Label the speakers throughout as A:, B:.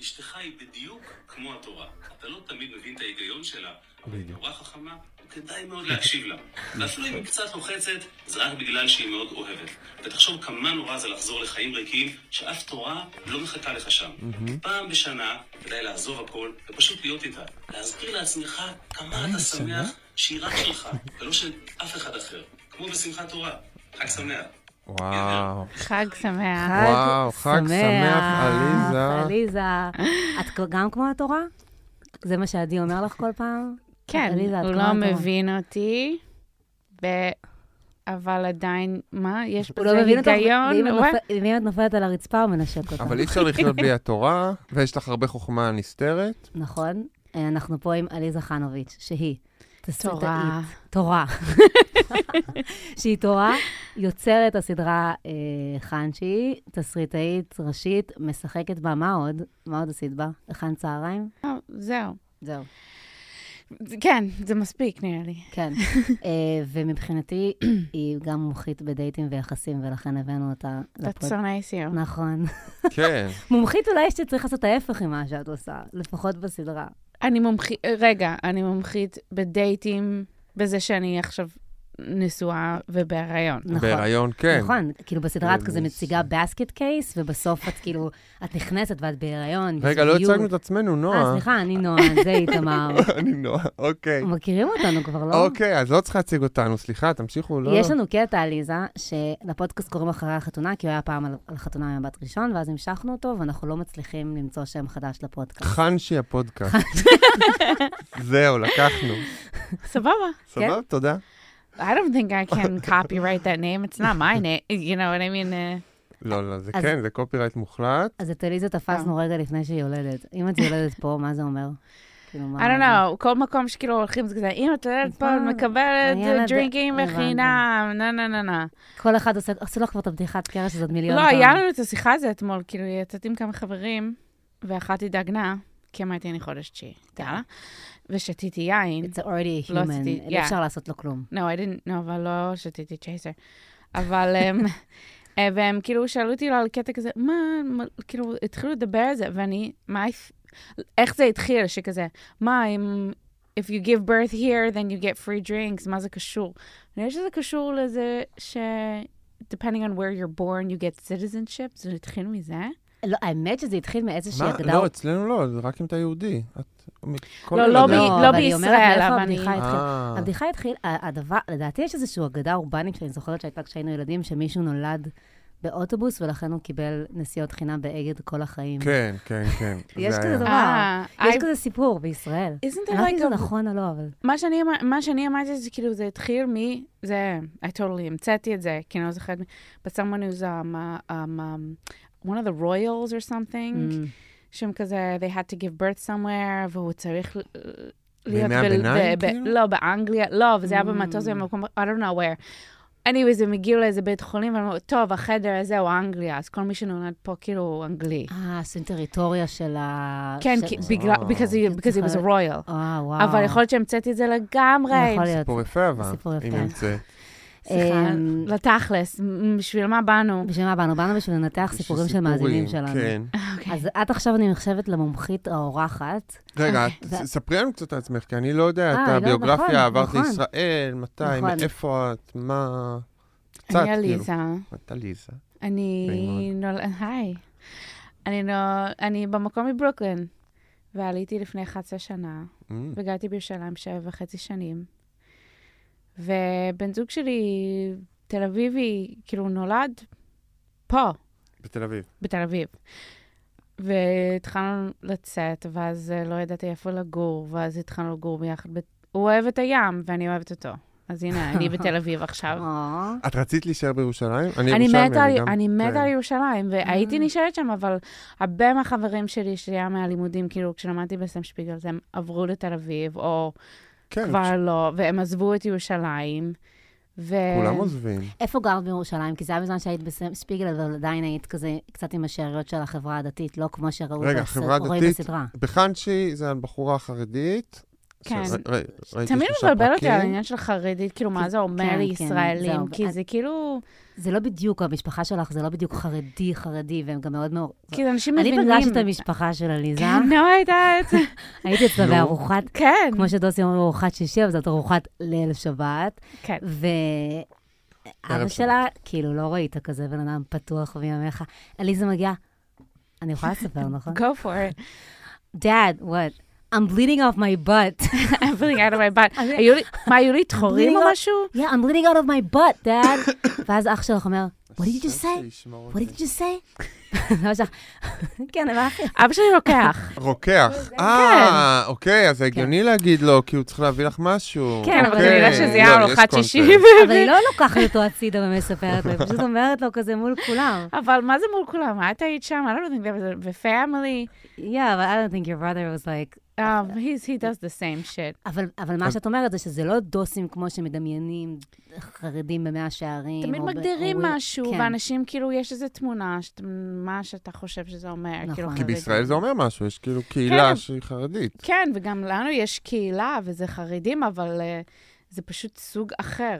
A: אשתך היא בדיוק כמו התורה. אתה לא תמיד מבין את ההיגיון שלה, אבל היא נורא חכמה, וכדאי מאוד להקשיב לה. ואפילו אם היא קצת לוחצת, זה רק בגלל שהיא מאוד אוהבת. ותחשוב כמה נורא זה לחזור לחיים ריקים, שאף תורה לא מחכה לך שם. פעם בשנה כדאי לעזוב הכל, ופשוט להיות איתה. להזכיר לעצמך כמה אתה שמח שהיא רק שלך, ולא של אף אחד אחר. כמו בשמחת תורה. חג שמח.
B: וואו.
C: חג שמח.
B: חג וואו, חג שמח, עליזה.
D: עליזה. את כ- גם כמו התורה? זה מה שעדי אומר לך כל פעם?
C: כן,
D: עליזה, את
C: הוא
D: כמו
C: לא
D: התורה.
C: מבין אותי, ב... אבל עדיין, מה, יש
D: הוא
C: בזה
D: לא מבין אותך, ואם
C: היגיון?
D: את
C: וואי,
D: נופל- ואם את נופלת על הרצפה, הוא מנשק אותך.
B: אבל אי אפשר לחיות בלי התורה, ויש לך הרבה חוכמה נסתרת.
D: נכון? אה, אנחנו פה עם עליזה חנוביץ', שהיא תסריטאית.
C: תורה.
D: תורה. שהיא תורה, יוצרת הסדרה אה, חנצ'י, תסריטאית ראשית, משחקת בה, מה עוד? מה עוד עשית בה? הכנת צהריים?
C: לא, זהו.
D: זהו.
C: זה- כן, זה מספיק נראה לי.
D: כן. אה, ומבחינתי, היא גם מומחית בדייטים ויחסים, ולכן הבאנו אותה
C: אתה
D: לפרוט.
C: שונאי סיום.
D: נכון.
B: כן.
D: מומחית אולי שצריך לעשות ההפך ממה שאת עושה, לפחות בסדרה.
C: אני מומחית, רגע, אני מומחית בדייטים, בזה שאני עכשיו נשואה ובהיריון.
D: נכון.
B: בהיריון, כן.
D: נכון, כאילו בסדרה את כזה
B: זה-
D: מציגה בסקט קייס, ובסוף את כאילו, את נכנסת ואת בהיריון.
B: רגע, לא
D: בזוגיות.
B: הצגנו את עצמנו,
D: אה,
B: נועה.
D: סליחה, אני נועה, זה איתמר.
B: אני נועה, אוקיי.
D: מכירים אותנו כבר, לא?
B: אוקיי, אז לא צריך להציג אותנו, סליחה, תמשיכו, לא...
D: יש לנו קטע, עליזה, שלפודקאסט קוראים אחרי החתונה, כי הוא היה פעם על, על חתונה עם הבת ראשון, ואז המשכנו אותו, ואנחנו לא מצליחים למצוא שם חדש לפודקאסט.
B: חנשי הפודקאסט. זהו, לקחנו.
C: סבבה.
B: סבבה, תודה.
C: I don't think I can copyright that name. It's not my name. You know what I mean? Uh,
B: לא, לא, זה
D: אז-
B: כן, זה קופירייט מוחלט.
D: אז את
C: כן.
D: עליזה תפסנו רגע לפני שהיא יולדת. אם את יולדת פה, מה זה אומר? כאילו, מה...
C: I don't know. כל מקום שכאילו הולכים זה כזה, אם את יודעת פה, את
D: נכון.
C: מקבלת
D: הילד-
C: דרינקים
D: הבנתי.
C: בחינם. נה נה נה נה.
D: כל אחד עושה, עשו לך כבר את הבדיחת קרש הזאת מיליון
C: לא,
D: פעם.
C: היה לנו את השיחה הזאת אתמול, כאילו, יצאתי עם כמה חברים, ואחת התדגנה, כי אמרתי, אני חודש תשיעי,
D: כן.
C: יאללה. ושתיתי יין.
D: It's already a
C: לא
D: human,
C: עשיתי-
D: אי
C: yeah.
D: אפשר לעשות לו כלום.
C: No, I didn't, no, אבל לא שתיתי צ'ייסר. אבל, אמ, אה, והם כאילו שאלו אותי על קטע כזה, מה, מה, כאילו, התחילו לדבר על זה, ואני, מה, if- איך זה התחיל, שכזה, מה, אם, if you give birth here, then you get free drinks, מה זה קשור? אני חושבת שזה קשור לזה ש... depending on where you're born, you get citizenship, זה התחיל מזה.
D: לא, האמת שזה התחיל מאיזושהי
B: מה?
D: הגדרה.
B: לא, אצלנו לא, זה רק אם אתה יהודי. את- מכל אה.
C: לא,
B: ילדיי-
C: ב- לא
D: אבל היא אומרת
C: בישראל,
D: מאיפה
C: אבל
D: הבדיחה
C: אני-
D: התחילה.
B: אה,
D: הבדיחה התחיל, ה- הדבר, לדעתי יש איזושהי אגדה אורבנית שאני זוכרת שהייתה כשהיינו ילדים, שמישהו נולד באוטובוס ולכן הוא קיבל נסיעות חינם באגד כל החיים.
B: כן, כן, כן.
D: יש
B: זה
D: כזה
B: היה.
D: דבר.
C: אה,
D: יש
C: Ah, I-
D: כזה סיפור בישראל.
C: Isn't
D: אני
C: there
D: לא יודעת
C: like
D: אם
C: a
D: זה נכון או לא, אבל...
C: מה שאני, אמר- מה שאני אמרתי זה כאילו, זה התחיל מ... זה, I totally המצאתי את זה, כי אני לא זוכרת, מי- but someone who's um, uh, um, um, one of the royals or something, mm. שהם כזה, they had to give birth somewhere, והוא צריך ל- להיות...
B: בימי הביניים, כאילו? Mm.
C: לא, באנגליה, לא, וזה היה במטוס במקום, I don't know where. anyways, הם הגיעו לאיזה בית חולים, ואמרו, טוב, החדר הזה הוא אנגליה, אז כל מי שנולד פה כאילו הוא אנגלי.
D: אה, עושים טריטוריה של ה...
C: כן,
D: של-
C: כי- בגלל,
B: אה, וואו.
C: because he- because he was a royal.
D: אה, וואו.
C: אבל יכול להיות שהמצאתי את זה לגמרי.
D: יכול להיות.
B: סיפור יפה, אבל,
D: סיפור יפה.
B: אם נמצא.
C: סליחה,
D: אמ,
C: לתכלס, מ- בשביל מה באנו?
D: בשביל מה באנו? באנו בשביל לנתח סיפורים של מאזינים שלנו.
B: כן.
D: אז את עכשיו, אני נחשבת למומחית האורחת.
B: רגע, את- ספרי לנו קצת על עצמך, כי אני לא יודע,
D: אה,
B: את
D: לא, נכון,
B: הביוגרפיה, עברת
D: נכון.
B: לישראל, מתי,
D: נכון.
B: איפה את, מה... קצת,
C: אני
B: כאילו.
C: עליזה,
B: את עליזה.
C: אני
B: נעים מאוד.
C: נולד... היי. אני נול- אני במקום מברוקלין, ועליתי לפני 11 שנה,
B: אמ,
C: וגרתי בירושלים שבע וחצי שנים. ובן זוג שלי, תל אביבי, כאילו נולד פה,
B: בתל אביב.
C: בתל אביב. והתחלנו לצאת, ואז אה, לא ידעתי איפה לגור, ואז התחלנו לגור ביחד. ב... הוא אוהב את הים, ואני אוהבת אותו. אז הנה, אני בתל אביב עכשיו.
D: אה,
B: את רצית להישאר בירושלים? אני
C: אני
B: ירושלמי,
C: מתה על-
B: גם-
C: אני
B: כן.
C: מתה על ירושלים, והייתי נשארת שם, אבל הרבה מהחברים שלי שהיה מהלימודים, כאילו, כשלמדתי בסם שפיגלס, הם עברו לתל אביב, או
B: כן,
C: כבר לא, והם עזבו את ירושלים. ו...
B: כולם
D: אה,
B: עוזבים.
D: איפה גרת בירושלים? כי זה היה בזמן שהיית בספיגל, אבל עדיין היית כזה קצת עם השאריות של החברה הדתית, לא כמו שראו
B: רגע,
D: בס-
B: חברה
D: רואים
B: דתית?
D: בסדרה.
B: בחנשי זה על בחורה חרדית,
C: כן.
B: ש- ר- ר- ראיתי
C: תמיד
B: שלושה
C: מבלבל אותי
B: פרקים.
C: על העניין של חרדית, כאילו, מה
D: כי-
C: זה אומר
D: כן, כן,
C: ישראלים?
D: זהו,
C: כי
D: ואת-
C: זה כאילו...
D: זה לא בדיוק, המשפחה שלך זה לא בדיוק חרדי, חרדי, והם גם מאוד מאוד...
C: כי זה אנשים
D: אני
C: מבינים.
D: פגשתי את המשפחה של עליזה,
C: כן, נועה הייתה את זה.
D: הייתי אצלה
B: נו.
D: בארוחת,
C: כן,
D: כמו שדוסי אומר, ארוחת שישי, אבל זאת ארוחת ליל שבת,
C: כן.
D: ואבא
B: ערב שבת.
D: שלה, כאילו, לא ראית כזה בן אדם פתוח וימיך. עליזה מגיעה, אני יכולה לספר, נכון?
C: go for it.
D: Dad, what? I'm bleeding off my butt.
C: I'm feeling out of my butt. היו לי, מה, היו לי טחורים או
D: בלי-
C: משהו?
D: Yeah, I'm bleeding out of my butt, dad. ואז אח שלך אומר, what did you just
B: השם
D: say?
B: שישמור
D: What did you just say? אבא שלך, כן, אבל אחי.
C: אבא שלי לוקח.
B: רוקח.
C: כן.
B: אה, אוקיי, אז זה הגיוני להגיד לו, כי הוא צריך להביא לך משהו.
C: כן, אבל
B: אוקיי.
C: כנראה שזה יהיה
B: לא, יש
C: ארוחת
B: קונטקסט.
C: שישי.
D: אבל היא לא לוקחת אותו הצידה ומספרת לו, היא פשוט אומרת לו כזה מול כולם.
C: אבל מה זה מול כולם? מה לא את היית שם? I don't think that was a family.
D: Yeah, but I don't think your brother was like...
C: Um, he's, he does the same shit.
D: אבל, אבל מה שאת אומרת זה שזה לא דוסים כמו שמדמיינים חרדים במאה שערים.
C: תמיד
D: או ב-
C: מגדירים
D: או-
C: משהו,
D: כן.
C: ואנשים, כאילו, יש איזו תמונה, שאת- מה שאתה חושב שזה אומר.
D: נכון.
C: כאילו,
D: כי
B: כי
C: חרדי.
B: בישראל זה אומר משהו, יש כאילו קהילה
C: כן.
B: שהיא חרדית.
C: כן, וגם לנו יש קהילה, וזה חרדים, אבל אה, זה פשוט סוג אחר.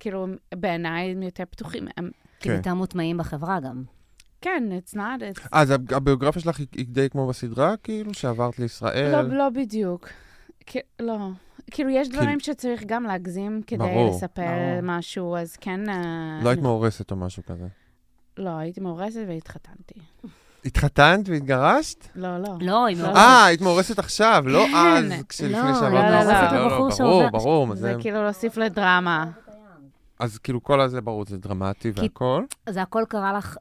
C: כאילו, הם- בעיניי הם יותר פתוחים. הם-
D: כי
B: כן.
D: כאילו יותר מוטמעים בחברה גם.
C: כן, it's not, it's...
B: אז הב- הביוגרפיה שלך היא- היא די כמו בסדרה, כאילו, שעברת לישראל?
C: לא, לא בדיוק. כי- לא. כאילו, יש דברים שצריך גם להגזים כדי
B: ברור.
C: לספר
D: ברור.
C: משהו, אז כן... אה,
B: לא היית
C: אני-
B: מאורסת או משהו כזה.
C: לא, הייתי מאורסת והתחתנתי.
B: התחתנת והתגרשת?
C: לא, לא.
D: לא, היא מאוד...
B: אה, היית מאורסת עכשיו, לא
C: כן.
B: אז, כשלפני
D: לא,
B: שעברת
C: לא, לא,
B: מאורסת.
C: לא.
D: הבחור
B: ברור,
D: שעובר-
B: ברור. מה
C: זה
B: זה-
C: כאילו להוסיף לדרמה.
B: אז כאילו כל הזה ברור, זה דרמטי והכל.
D: זה הכל קרה לך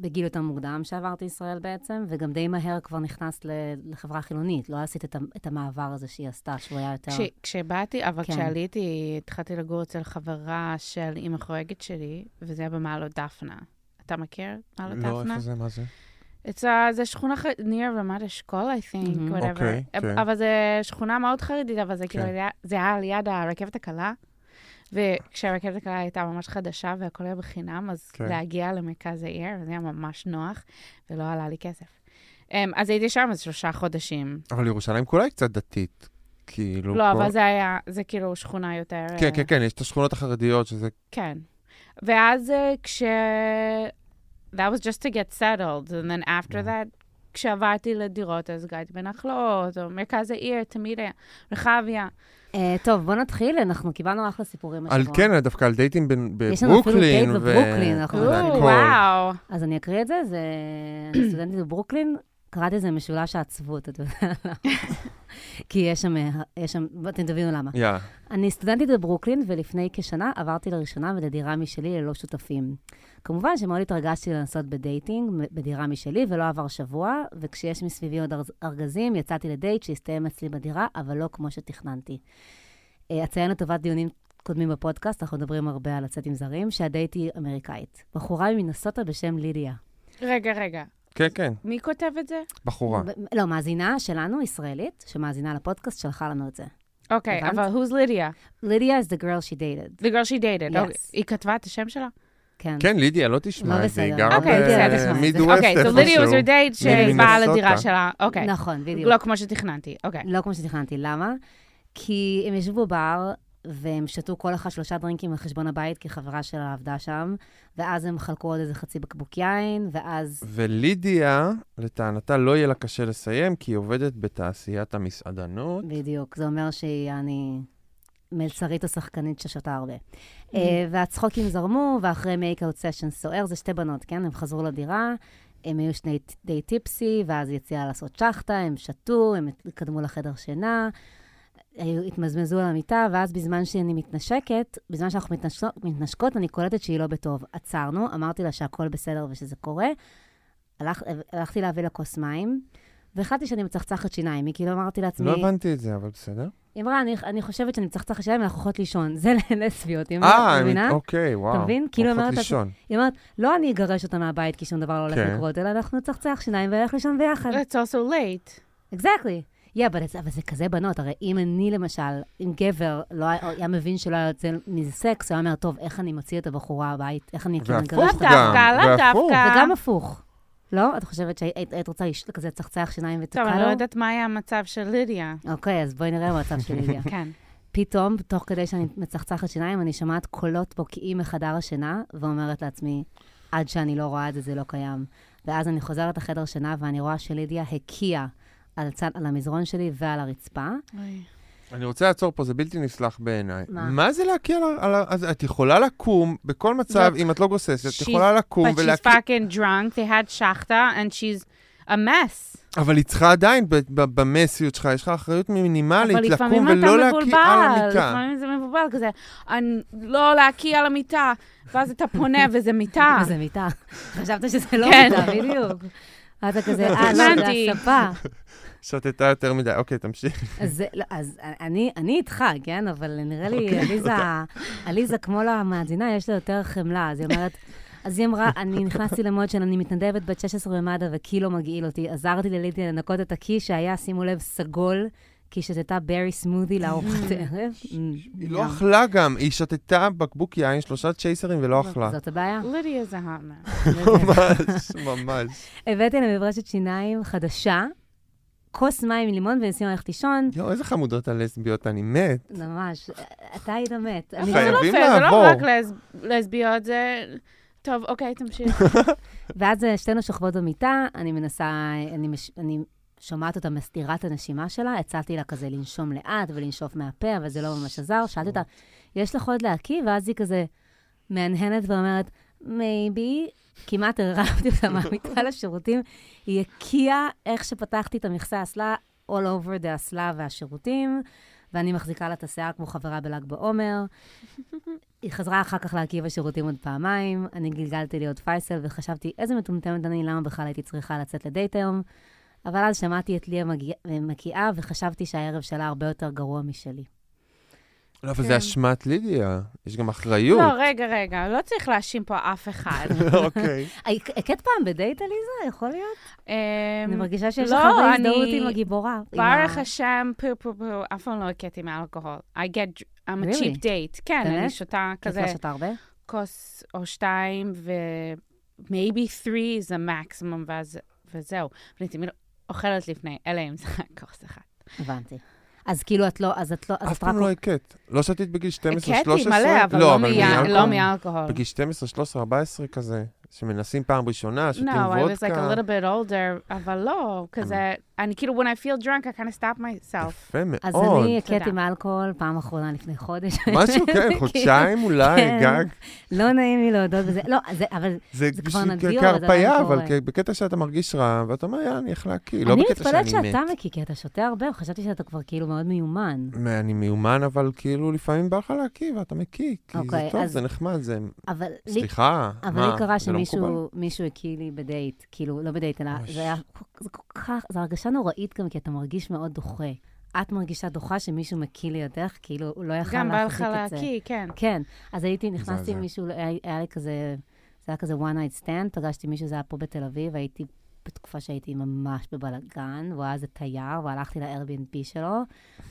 D: בגיל יותר מוקדם שעברת לישראל בעצם, וגם די מהר כבר נכנסת ל- לחברה חילונית. לא עשית את ה- את המעבר הזה שהיא עשתה, שהוא היה יותר...
C: כש- כשבאתי, אבל
D: כן.
C: כשעליתי, התחלתי לגור אצל חברה של אימא חורגת שלי, וזה היה במעלות דפנה. אתה מכיר? מעלות
B: לא,
C: דפנה?
B: איפה זה, מה זה?
C: It's a, זה שכונה ח... near רמת אשכול, I think,
D: Mhm.
C: whatever.
B: אוקיי, כן.
C: אבל זה שכונה מאוד חרדית, אבל זה כאילו,
B: כן.
C: היה- זה היה על יד הרכבת הקלה. וכשהרכבת הקלה הייתה ממש חדשה והכל היה בחינם, אז
B: כן.
C: להגיע למרכז העיר, זה היה ממש נוח, ולא עלה לי כסף. אמ, אז הייתי שם איזה שלושה חודשים.
B: אבל ירושלים כולה היא קצת דתית. כאילו...
C: לא,
B: כל-
C: אבל זה היה, זה כאילו שכונה יותר...
B: כן,
C: אה,
B: כן, כן, יש את השכונות החרדיות, שזה...
C: כן. ואז אה, כש... That was just to get settled, and then
D: Mm.
C: after that, כשעברתי לדירות, אז גרתי בנחלות, או מרכז העיר, תמיד היה, רחביה.
D: אה, טוב, בוא נתחיל, אנחנו קיבלנו אחלה סיפורים
B: על
D: השבוע.
B: כן, דווקא על דייטים בנ- בברוקלין.
D: נכון. יש לנו אפילו דייט
B: ו-
D: בברוקלין, אנחנו
B: והכל.
D: נתחיל.
C: או, וואו.
D: אז אני אקריא את זה, זה אני סטודנטית בברוקלין, קראתי לזה משולש העצבות, אתה יודע למה? כי יש שם, אה, יש שם, אתם תבינו למה.
B: יאללה.
D: אני סטודנטית בברוקלין, ולפני כשנה עברתי לראשונה ולדירה משלי ללא שותפים. כמובן שמאוד התרגשתי לנסות בדייטינג מ- בדירה משלי, ולא עבר שבוע, וכשיש מסביבי עוד ארז- ארגזים, יצאתי לדייט שהסתיים אצלי בדירה, אבל לא כמו שתכננתי. אה, אציין לטובת דיונים קודמים בפודקאסט, אנחנו מדברים הרבה על לצאת עם זרים, שהדייט היא אמריקאית. בחורה מנסוטה בשם לידיה.
C: רגע, רגע.
B: כן, כן,
C: מי כותב את זה?
B: בחורה.
D: ב- לא, מאזינה שלנו, ישראלית, שמאזינה לפודקאסט, שלחה לנו את זה.
C: אוקיי,
D: הבנת?
C: אבל who's Lydia?
D: לידיה is the girl she dated.
C: The girl she dated.
D: Yes.
C: אוקיי. היא כתבה את השם שלה?
D: כן.
B: כן, לידיה, לא תשמע
D: לא
B: את זה, היא
D: בסדר.
B: גרה
C: אוקיי, בסדר,
D: תשמע את זה.
B: במידווסט
C: אוקיי, so Lydia was her date שבאה
B: ממינסוטה.
C: לדירה שלה. אוקיי.
D: נכון, בדיוק.
C: לא כמו שתכננתי. אוקיי.
D: לא כמו שתכננתי. למה? כי הם ישבו בר, והם שתו כל אחד שלושה דרינקים על חשבון הבית, כי חברה שלה עבדה שם, ואז הם חלקו עוד איזה חצי בקבוק יין, ואז...
B: ולידיה, לטענתה, לא יהיה לה קשה לסיים, כי היא עובדת בתעשיית המסעדנות.
D: בדיוק. זה אומר שהיא, אני... מלצרית או שחקנית ששותה הרבה. אה, והצחוקים זרמו, ואחרי מייקאוט סשן סוער, זה שתי בנות, כן? הם חזרו לדירה, הם היו שני ט- די טיפסי, ואז יציאה לעשות שחטה, הם שתו, הם התקדמו לחדר שינה, היו- התמזמזו על המיטה, ואז בזמן שאני מתנשקת, בזמן שאנחנו מתנשקות, מתנשקות, אני קולטת שהיא לא בטוב. עצרנו, אמרתי לה שהכל בסדר ושזה קורה. הלך, הלכתי להביא לה כוס מים, והחלטתי שאני מצחצחת שיניים, היא כאילו אמרתי לעצמי...
B: לא הבנתי את זה, אבל בסדר.
D: היא אמרה, אני, אני חושבת שאני מצחצחת שיניים ואנחנו הולכות לישון. זה לסביות, היא
B: אה,
D: אומרת, מבינה?
B: הם- אוקיי, וואו.
D: מבין? כאילו
B: הולכות
D: אמרת את-
B: לישון.
D: היא אומרת, לא אני אגרש אותה מהבית כי שום דבר לא הולך
B: כן.
D: לקרות, אלא אנחנו נצחצח שיניים ונלך לישון ביחד.
C: It's also late.
D: אקזקטלי. יא, אבל זה- אבל זה כזה בנות, הרי אם אני למשל, אם גבר לא היה- היה מבין שלא היה יוצא מזה סקס, הוא היה אומר, טוב, איך אני מוציא את הבחורה הבית? איך אני כאילו
B: והפוך
D: מגרש
C: לאו
D: אותה?
B: גם,
C: דווקא, לאו
B: והפוך.
C: דווקא.
D: וגם הפוך. לא? את חושבת שהיית היית רוצה לש- כזה צחצח שיניים ותקע
C: טוב,
D: לו?
C: אני לא יודעת מה היה המצב של לידיה.
D: אוקיי, אז בואי נראה במצב של לידיה.
C: כן.
D: פתאום, תוך כדי שאני מצחצחת שיניים, אני שומעת קולות בוקעים מחדר השינה, ואומרת לעצמי, עד שאני לא רואה את זה, זה לא קיים. ואז אני חוזרת לחדר שינה, ואני רואה שלידיה הקיאה על, הצד, על המזרון שלי ועל הרצפה.
C: אוי.
B: אני רוצה לעצור פה, זה בלתי נסלח בעיניי.
D: מה?
B: מה זה להקיא על ה... על ה... אז את יכולה לקום, בכל מצב,
C: זאת-
B: אם את לא גוססת, את
C: She's-
B: יכולה לקום
C: But she's
B: ולהקיא...
C: fucking drunk, they had שחטה, and she's a mess.
B: אבל היא צריכה עדיין, ב- ב- במסיות שלך, יש לך אחריות מינימלית
C: אבל
B: לקום
C: לפעמים אתה
B: ולא להקיא על
C: מבולבל,
B: המיטה.
C: לפעמים זה מבולבל כזה, "אני- לא להקיא על המיטה, ואז אתה פונה וזה מיטה.
D: וזה מיטה. חשבת שזה לא
C: אה. כן.
D: מיטה, בדיוק. אז אתה כזה, אה, לא, זה
C: הבנתי."
D: הספה.
B: שתתה יותר מדי. אוקיי, תמשיך.
D: אז זה- לא, אז אני אני איתך, כן? אבל נראה
B: אוקיי,
D: לי, עליזה, עליזה, כמו למאזינה, יש לה יותר חמלה, אז היא אומרת... אז היא אמרה, אני נכנסתי למוד של אני מתנדבת בת 16 במד"א וקילו מגעיל אותי. עזרתי ללידיה לנקות את הקי שהיה, שימו לב, סגול, כי שתתה ברי סמודי
B: Mm.
D: לארוחת ערב.
B: היא לא אכלה גם, היא שתתה בקבוק יין, שלושה צ'ייסרים ולא אכלה.
D: זאת הבעיה.
C: לידיה זה האמר.
B: ממש, ממש.
D: הבאתי לה מברשת שיניים חדשה, כוס מים עם לימון וניסינו ללכת לישון.
B: יואו, איזה חמודות הלסביות, אני מת.
D: ממש, אתה היית מת. אני-
C: אבל זה לא
B: חייבים
C: פייר, זה
B: לעבור.
C: לא רק לס- לסביות, זה... טוב, אוקיי, תמשיך.
D: ואז אה, שתינו שוכבות במיטה, אני מנסה, אני, מש, אני שומעת אותה מסתירה את הנשימה שלה, הצעתי לה כזה לנשום לאט ולנשוף מהפה, אבל זה לא ממש עזר. שאלתי אותה, יש לך עוד להקיא? ואז היא כזה מהנהנת ואומרת, מייבי, כמעט הרמתי אותה מהמיטה לשירותים. היא הקיאה איך שפתחתי את המכסה האסלה, all over the אסלה והשירותים, ואני מחזיקה לה את השיער כמו חברה בל"ג בעומר. היא חזרה אחר כך להקיא בשירותים עוד פעמיים, אני גלגלתי לי עוד פייסל וחשבתי, איזה מטומטמת אני, למה בכלל הייתי צריכה לצאת לדייט היום? אבל אז שמעתי את ליה מגיע- מקיאה וחשבתי שהערב שלה הרבה יותר גרוע משלי.
B: לא, אבל
C: כן.
B: זה אשמת לידיה, יש גם אחריות.
C: לא, רגע, רגע, לא צריך להאשים פה אף אחד.
B: אוקיי.
D: אה, הכית פעם בדייט, עליזה? יכול להיות?
C: אמ,
D: אני מרגישה שיש
C: לא,
D: לך הרבה
C: אני-
D: הזדהות עם הגיבורה. עם ה-
C: ברוך השם, פו פו פו, אף פעם לא הכיתי מאלכוהול. I get, I'm a
D: Really?
C: cheap date. כן,
D: באמת?
C: אני שותה
D: את
C: כזה
D: לא שותה הרבה?
C: כוס או שתיים, ו... maybe three זה מקסימום, ואז... וזהו. ואני תמיד אוכלת לפני, אלא אם זה רק כוס אחת.
D: הבנתי. אז כאילו את לא, אז את לא, אז
B: אף
D: את רק...
B: פעם לא הכית. לא שתית בגיל 12, 13?
C: הכיתי מלא, אבל לא מיה- לא
B: מאלכוהול.
C: מאלכוהול.
B: בגיל 12, 13, 14 כזה, שמנסים פעם ראשונה, שותים
C: No, I was like a
B: וודקה.
C: little bit older, אבל לא, כזה, אני כאילו, when I feel drunk, I kind of stop myself.
B: יפה
D: אז
B: מאוד.
D: אני הכיתי
C: תודה.
D: מאלכוהול פעם אחרונה לפני חודש.
B: משהו, כן,
D: כאילו,
B: חודשיים אולי,
D: כן.
B: גג.
D: לא נעים לי להודות בזה. לא, זה, אבל
B: זה
D: זה כבר
B: כ-
D: נדיר, אבל זה
B: כהרפאיה,
D: עדיין
B: אבל
D: קורה.
B: כ- בקטע שאתה מרגיש רע, ואתה אומר, יאללה, אני אחלה קי, לא
D: אני
B: בקטע שאני מת.
D: מתפלאת שאתה מקיא, כי אתה שותה הרבה, חשבתי שאתה כבר כאילו מאוד מיומן.
B: מה, אני מיומן, אבל כאילו לפעמים בא לך להקיא ואתה מקיא, כי זה
D: אוקיי,
B: טוב,
D: אז-
B: זה נחמד, זה...
D: אבל לי,
B: סליחה,
D: אבל
B: מה,
D: לי קרה
B: זה לא מקובל?
D: שמישהו מישהו הקיא לי בדייט, כאילו, לא בדייט, אלא
B: אוי.
D: זה היה, זה כל כך, זו הרגשה נוראית גם, כי אתה מרגיש מאוד דוחה. את מרגישה דוחה שמישהו מקיא לידך, כאילו, הוא לא יכל
C: גם בא לך
D: להחזיק את זה.
C: להקיא, כן.
D: כן, אז הייתי, נכנסתי עם
B: מזעזע.
D: מישהו, היה, היה לי כזה, זה היה כזה one night stand, פגשתי מישהו, זה היה פה בתל אביב, הייתי בתקופה שהייתי ממש בבלאגן, והוא היה איזה תייר, והלכתי ל-Airbnb שלו,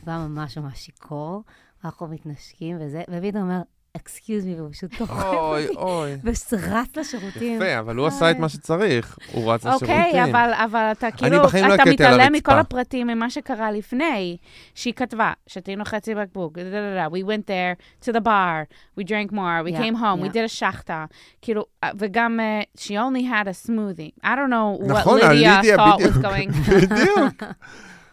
D: והוא היה ממש ממש שיכור, אנחנו מתנשקים וזה, ופתאום הוא אומר, אקסקיוז מי, והוא פשוט דוחף
B: אוי,
D: אותי,
B: אוי.
D: ורץ לשירותים.
B: יפה, אבל הוא עשה את מה שצריך, הוא רץ לשירותים.
C: אוקיי, אבל, אבל אתה כאילו,
B: בחיים לא
C: אתה
B: הכיתי על
C: מתעלם
B: הרצפה.
C: מכל הפרטים ממה שקרה לפני, שהיא כתבה, שתינו חצי בקבוק, da, da, da, da. we went there to the bar, we drank more, we
D: Yeah,
C: came home, we
D: yeah.
C: did a שחטה, כאילו, אה, וגם, אה, she only had a smoothie. I don't know what
B: נכון, על
C: Lydia
B: לידיה,
C: thought was
B: בדיוק.
C: going
B: בדיוק.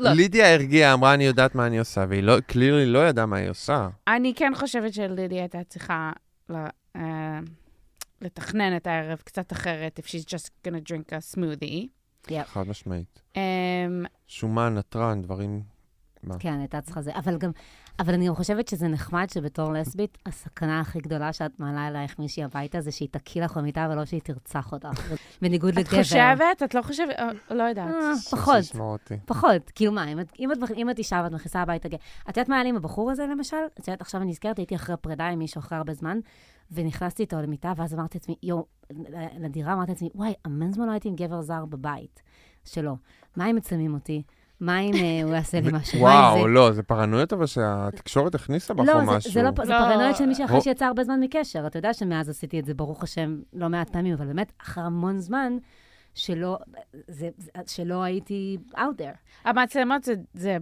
D: לא.
C: Look.
B: לידיה הרגיעה, אמרה, אני יודעת מה אני עושה, והיא לא, קלירלי לא ידעה מה היא עושה.
C: אני כן חושבת שלילי הייתה צריכה ל- אה, לתכנן את הערב קצת אחרת, if she's just gonna drink a smoothie.
B: חד משמעית.
C: Um,
B: שומן, נתרן, דברים... מה?
D: כן, הייתה צריכה זה. אבל גם, אבל אני גם חושבת שזה נחמד שבתור לסבית, הסכנה הכי גדולה שאת מעלה אלייך מישהי הביתה, זה שהיא תקיא לך במיטה ולא שהיא תרצח אותך. בניגוד
C: את
D: לגבר.
C: חושבת? את לא חושבת? אה, לא יודעת.
D: אה, פחות.
B: שישמע אותי.
D: פחות. כאילו מה, אם את, אם את, אם את אישה ואת מכניסה הביתה גאה, את יודעת מה היה לי עם הבחור הזה למשל? את יודעת, עכשיו אני נזכרת, הייתי אחרי פרידה עם מישהו אחרי הרבה זמן, ונכנסתי איתו למיטה, ואז אמרתי לעצמי, יואו, לדירה אמרתי לעצמי, וואי, המון זמן לא הייתי עם גבר זר בבית שלו. מה אם מצלמים אותי? מה אם אה, הוא יעשה לי משהו? מה אם
B: וואו,
D: זה?"
B: לא, זה פרנויות אבל שהתקשורת הכניסה בך או
D: לא, זה,
B: משהו.
D: זה לא, פ- זה
C: לא.
D: פרנויות של מישהי אחרי
B: או-
D: שיצא הרבה זמן מקשר. אתה יודע שמאז עשיתי את זה, ברוך השם, לא מעט פעמים, אבל באמת, אחרי המון זמן, שלא, זה, זה, שלא הייתי out there.
C: המצלמות זה- זה...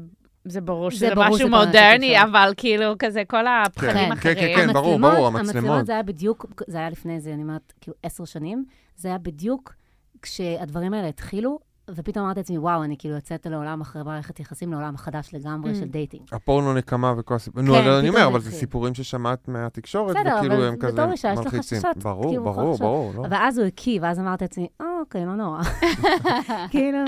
C: זה ברור
D: זה
C: שזה
D: ברור, זה
C: משהו
D: ברור,
C: מודרני,
D: אפשר.
C: אבל כאילו, כזה, כל הפחדים
B: כן, כן,
C: אחרים.
B: כן, ברור, ברור, המצלמות.
D: המצלמות זה היה בדיוק, זה היה לפני איזה, אני אומרת, כאילו עשר שנים, זה היה בדיוק כשהדברים האלה התחילו, ופתאום אמרתי לעצמי, וואו, אני כאילו יוצאת לעולם אחרי מערכת יחסים, לעולם חדש לגמרי
C: Mm.
D: של דייטינג.
B: הפורנו נקמה וכל הסיפורים. נו,
D: כן,
B: אבל אני
D: פתאום
B: אומר,
D: זה
B: אבל זה
D: התחיל.
B: סיפורים ששמעת מהתקשורת,
D: בסדר,
B: וכאילו
D: אבל
B: הם
D: בתור
B: כזה
D: אישה יש לך
B: מלחיצים.
D: חששות,
B: ברור,
D: כאילו,
B: ברור,
D: חששות.
B: ברור. לא.
D: ואז הוא הקיא, ואז אמרתי לעצמי, אוקיי, לא נורא. כאילו,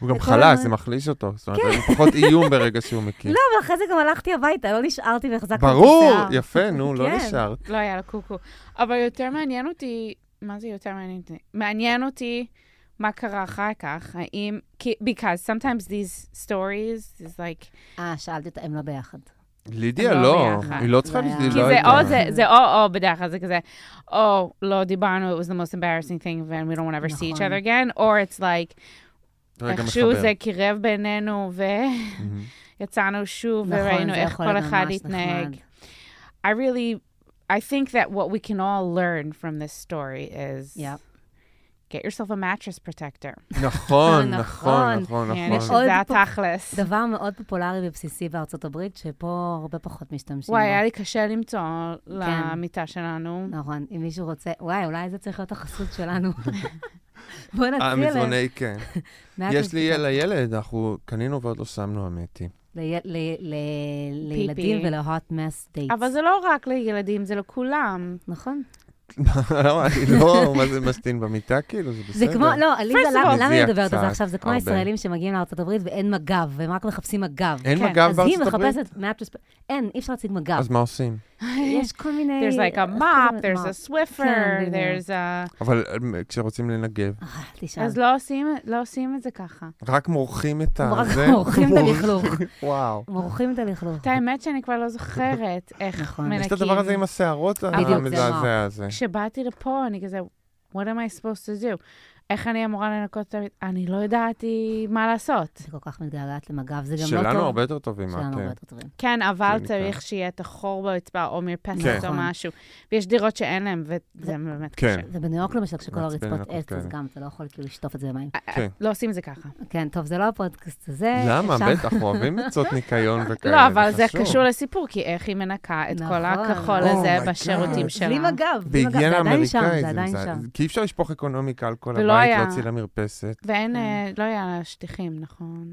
B: הוא גם
D: וכל
B: חלש,
D: הזמן- כן.
B: זה מחליש אותו. זאת אומרת, הוא פחות איום ברגע שהוא מכיר.
D: לא, אבל אחרי זה גם הלכתי הביתה, לא נשארתי והחזקתי את השיער.
B: ברור, יפה, נו, לא
D: כן.
B: נשארת.
C: לא היה לה קוקו. אבל יותר מעניין אותי, מה זה יותר מעניין אותי? מעניין אותי מה קרה אחר כך, האם... כי, because sometimes these stories is like...
D: אה, שאלתי אותה, הם לא ביחד.
B: לידיה
C: לא
B: לא,
C: ביחד.
B: היא לא צריכה,
D: זה היה-
B: היא
C: כי
B: לא
C: זה
B: הייתה.
C: או זה, זה או-או בדרך כלל, זה כזה, או, לא דיברנו, it was the most embarrassing thing, and we don't want to ever see each
D: נכון.
C: other again, or it's like,
B: רגע,
C: איכשהו
B: מחבר.
C: זה קירב בינינו,
B: מהמם.
C: ויצאנו שוב,
D: נכון,
C: וראינו
D: זה
C: איך
D: יכול
C: כל
D: להיות
C: אחד
D: ממש
C: התנהג.
D: נחמד.
C: I really, I think that what we can all learn from this story is
D: Yep.
C: get yourself a mattress protector.
B: נכון, נכון,
D: נכון.
B: נכון,
C: כן,
B: נכון.
D: עוד
C: שזה
D: פה-
C: התכלס.
D: דבר מאוד פופולרי ובסיסי בארצות הברית, שפה הרבה פחות משתמשים
C: וואי,
D: בו.
C: היה לי קשה למצוא למיטה שלנו.
D: נכון, אם מישהו רוצה, וואי, אולי זה צריך להיות החסות שלנו. בוא נציע להם.
B: המזרוני, כן.
D: מעט
B: יש לי
D: מזונות.
B: לילד, אנחנו קנינו ועוד לא שמנו, האמת היא.
D: ל- ל- ל-
C: פיפי.
D: לילדים ול-hot mess dates.
C: אבל זה לא רק לילדים, זה לכולם.
D: נכון.
B: למה, אני לא, מה זה משתין במיטה, כאילו, זה
D: זה
B: בסדר.
D: כמו, לא, עליזה,
C: First of
D: למה
B: all-
D: למה אני מדברת על
B: קצת,
D: זה עכשיו? זה כמו
B: הרבה.
D: הישראלים שמגיעים לארצות הברית ואין מג"ב, והם רק מחפשים מג"ב.
B: אין
C: כן,
B: מג"ב
D: אז היא
B: בארצות הברית?
D: מחפשת מאטרס... אין, אי אפשר להציג מג"ב.
B: אז מה עושים?
D: יש כל מיני...
C: There's like a
D: איך
C: mop,
D: קוראים לזה?
C: there's a
D: מופ.
C: Swiffer,
D: בדיוק.
C: there's a...
B: אבל אה, כשרוצים לנגב,
D: אה, אל תשאל.
C: אז לא עושים, לא עושים את זה ככה.
B: רק מורחים את ה...
D: רק
B: זה-
D: מורחים את הלכלוך.
B: וואו.
D: מורחים את הלכלוך.
C: את האמת שאני כבר לא זוכרת איך
D: נכון.
B: יש
C: מנקים.
B: את הדבר הזה עם השערות
D: בדיוק, זה
B: המזעזע הזה.
C: כשבאתי לפה, אני כזה, what am I supposed to do? איך אני אמורה לנקות את המיטה? אני לא ידעתי מה לעשות.
D: אני כל כך מתגעגעת למג"ב, זה גם לא טוב.
B: שלנו הרבה יותר טובים, מה
D: שלנו הרבה
B: אתם?
D: יותר טובים.
C: כן, אבל
B: זה
C: צריך
B: ניכר.
C: שיהיה את החור באצבע או
B: כן.
C: מרפסת או
D: נכון.
C: משהו. ויש דירות שאין להן, וזה באמת
B: כן.
C: קשה.
D: ובניו יורק למשל, כשכל
B: מעצבן כן.
D: הרצפות
B: לנקות
D: עץ, אז
B: כאלה.
D: גם אתה לא יכול כאילו לשטוף את זה במים.
B: כן.
C: לא עושים את זה ככה.
D: כן, טוב, זה לא הפודקאסט הזה.
B: למה?
D: אפשר-
B: בטח, אוהבים עצות ניקיון וכאלה.
C: לא, אבל זה
B: חשוב.
C: קשור לסיפור, כי איך היא מנקה את כל
D: נכון.
C: הכחול
D: Oh
B: my
C: הזה
B: God.
C: בשירותים שלה.
D: בלי מג"ב, בלי מג"ב,
B: בהיגיינה
D: זה עדיין שם,
B: האמריקאית
D: זה עדיין
B: מזעזע.
D: שם.
B: כי אי אפשר לשפוך אקונומיקה על כל
C: ולא
B: הבית,
C: היה-
B: להוציא למרפסת.
C: ואין,
D: כן.
C: אה, לא היה שטיחים, נכון?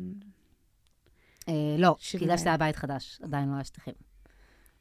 D: אה, לא, כי
C: שיניים.
D: בגלל שזה היה בית חדש, עדיין לא היה שטיחים.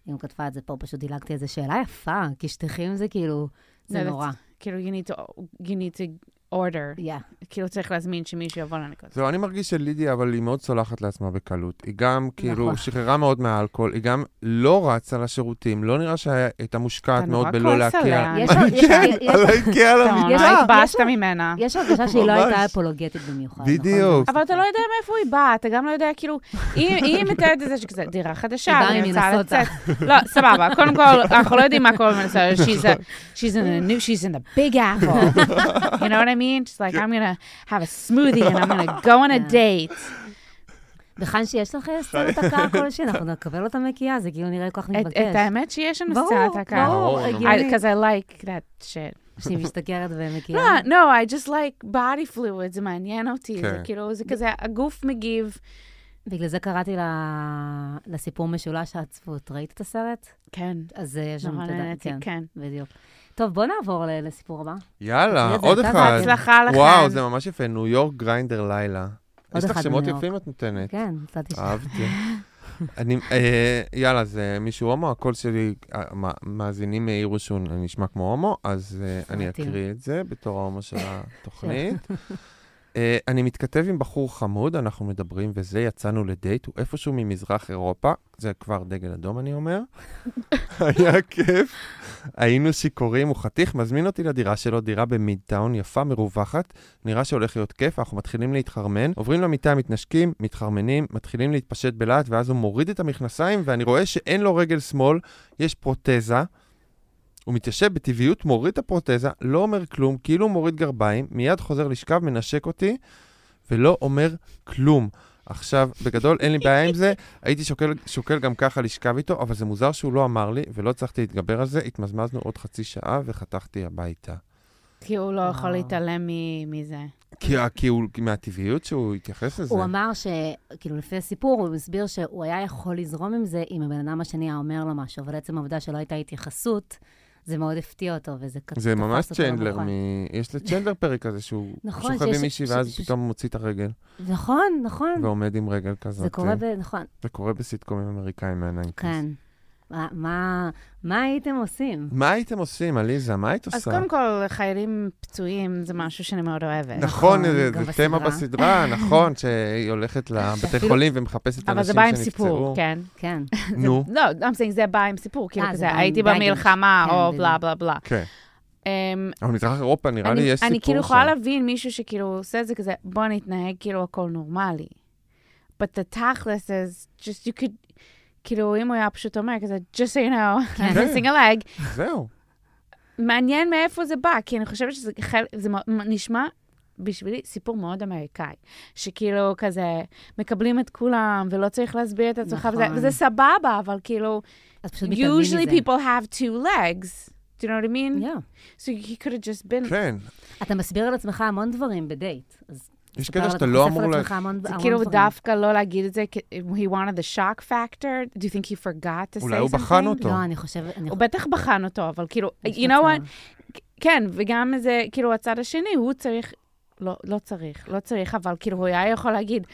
D: אם כתבה את זה פה, פשוט דילגתי איזו שאלה יפה, כי שטיחים זה כאילו, זה
C: זה
D: נורא.
C: כאילו, you need to, you need to order.
D: יא.
C: כאילו, צריך להזמין שמישהו יבוא לנקות.
B: זהו, אני מרגיש שלידיה, אבל היא מאוד סולחת לעצמה בקלות. היא גם, כאילו,
D: נכון.
B: שחררה מאוד מהאלכוהול, היא גם לא רצה לשירותים, לא נראה שהייתה מושקעת
C: אתה
B: מאוד
C: נורא
B: בלא
C: כועס
B: להכיר.
C: עליה.
D: יש-
B: מה,
D: יש-
B: כן,
D: יש-
B: על האיקאה
C: אתה
B: למיטה.
C: נורא
D: יש לה-
C: לא התבאסת ממנה.
D: יש הרגשה שהיא לא הייתה
B: ממש.
D: אפולוגטית במיוחד. נכון?
B: בדיוק.
C: אבל אתה לא יודע מאיפה היא באה, אתה גם לא יודע, כאילו, אם אם היא מתארת את זה שכזה דירה חדשה,
D: היא באה אה.
C: ואני רוצה
D: ממנסוטה.
C: לצאת. לא, סבבה, קודם כל, אנחנו לא יודעים מה קורה במנסוטה, she's a- she's in a new, she's in the big apple. You know what I mean? She's like, I'm gonna have a smoothie and I'm gonna go on a
D: Yeah.
C: date.
D: וכאן שיש לך סצנת הקר כלשהי, אנחנו נקבל אותה מקיאה, זה כאילו נראה כל כך
C: את- את
D: מתבקש.
C: האמת שיש לנו
D: ברור,
C: סצנת הקר.
B: ברור,
D: ברור,
B: נו.
D: הגיוני.
C: Because I like that shit.
D: שהיא משתכרת ומקיאה.
C: לא, no, I just like body fluid, זה מעניין אותי. זה
B: כן.
C: כאילו, זה כזה, הגוף מגיב.
D: בגלל זה קראתי ל- לסיפור משולש העצבות. ראית את הסרט?
C: כן,
D: אז אה, יש שם,
C: נורא
D: אתה יודע,
C: נהניתי, כן.
D: בדיוק. טוב, בוא נעבור ל- לסיפור הבא.
B: יאללה,
D: תראי, זה
B: עוד
D: הייתה
B: אחד.
C: בהצלחה לכם.
B: כן. וואו, זה ממש יפה, ניו יורק גריינדר לילה. יש לך
D: אחד
B: שמות
D: בניו יורק.
B: יפים את נותנת.
D: כן, נתתי שם.
B: אהבתי. אני, אה, יאללה, זה מישהו הומו, הקול שלי, המאזינים העירו שהוא נשמע כמו הומו, אז אה, אני
D: מתאים.
B: אקריא את זה בתור ההומו של התוכנית. אה, אני מתכתב עם בחור חמוד, אנחנו מדברים וזה, יצאנו לדייט, הוא איפשהו ממזרח אירופה, זה כבר דגל אדום אני אומר. היה כיף. היינו שיכורים, הוא חתיך, מזמין אותי לדירה שלו, דירה במידטאון יפה, מרווחת, נראה שהולך להיות כיף, אנחנו מתחילים להתחרמן, עוברים למיטה, מתנשקים, מתחרמנים, מתחילים להתפשט בלהט, ואז הוא מוריד את המכנסיים, ואני רואה שאין לו רגל שמאל, יש פרוטזה. הוא מתיישב בטבעיות, מוריד את הפרוטזה, לא אומר כלום, כאילו הוא מוריד גרביים, מיד חוזר לשכב, מנשק אותי, ולא אומר כלום. עכשיו, בגדול, אין לי בעיה עם זה, הייתי שוקל, שוקל גם ככה לשכב איתו, אבל זה מוזר שהוא לא אמר לי, ולא הצלחתי להתגבר על זה, התמזמזנו עוד חצי שעה וחתכתי הביתה.
C: כי הוא לא יכול
D: וואו.
C: להתעלם מ- מזה.
B: כי, כי הוא, כי מהטבעיות שהוא התייחס לזה.
D: הוא אמר ש... כאילו, לפי הסיפור, הוא הסביר שהוא היה יכול לזרום עם זה אם הבן אדם השני היה אומר לו משהו, אבל עצם העובדה שלא הייתה התייחסות, זה מאוד הפתיע אותו, וזה כ-
B: זה
D: תפס
B: ממש
D: אותו לא
B: צ'נדלר,
D: מוכן.
B: מ... יש לצ'נדלר פרק כזה שהוא
D: נכון,
B: שוכב
D: שיש-
B: עם מישהי
D: ש-
B: ואז
D: ש- ש-
B: פתאום מוציא את הרגל
D: נכון, נכון.
B: ועומד עם רגל כזאת.
D: זה קורה,
B: אה,
D: ב... נכון,
B: זה קורה בסיטקומים אמריקאים מהניינטיז.
D: כן. מה- מה- מה הייתם עושים?
B: מה הייתם עושים, עליזה? מה היית עושה?
C: אז קודם כל, חיילים פצועים זה משהו שאני מאוד אוהבת.
B: נכון,
D: נכון,
B: זה
D: גם
B: זה תמה בסדרה, נכון, שהיא הולכת לבתי
D: שאפילו-
B: חולים ומחפשת
C: אבל זה
B: אנשים
C: בא עם
B: שנפצעו.
C: סיפור, כן.
D: כן.
B: נו,
C: לא, I'm saying זה בא עם סיפור, כאילו
D: אה, זה בא
C: כזה,
D: עם
C: הייתי
D: baggage.
C: במלחמה,
D: כן,
C: או
D: בדיוק.
C: בלה בלה בלה.
B: כן.
C: אמ,
B: אבל מזרח אירופה, נראה לי
C: אני,
B: יש סיפור שם.
C: אני כאילו יכולה להבין מישהו שכאילו עושה את זה כזה, בוא נתנהג כאילו הכל נורמלי. But the תכלס is just you could, כאילו אם הוא היה פשוט אומר כזה, just so you know, I'm
B: כן.
C: missing a leg,
B: זהו.
C: מעניין מאיפה זה בא, כי אני חושבת שזה חל... זה מ- מ- נשמע בשבילי סיפור מאוד אמריקאי, שכאילו כזה מקבלים את כולם ולא צריך להסביר את עצמך, וזה,
D: נכון.
C: וזה סבבה, אבל כאילו,
D: אז פשוט מתעלמים מזה.
C: usually people have two legs. Do you know what I mean?
D: Yeah.
C: So he could have just been...
B: כן.
D: אתה מסביר על עצמך המון דברים בדייט. אז
B: יש
D: ספר
B: קטע
D: על-
B: שאתה לא
D: חושף על
B: אמור לה...
D: עצמך המון-
C: זה
D: המון
C: כאילו
D: דברים.
C: דווקא לא להגיד את זה, כי- he wanted the shock factor, do you think he forgot to say something?
B: אולי הוא בחן אותו.
D: לא, אני חושבת... אני
C: הוא
D: חושבת-
C: בטח בחן אותו, אבל כאילו,
D: יש
C: you know
D: מצב.
C: what? כן, וגם זה, כאילו, הצד השני, הוא צריך, לא, לא צריך, לא צריך, אבל כאילו, הוא היה יכול להגיד,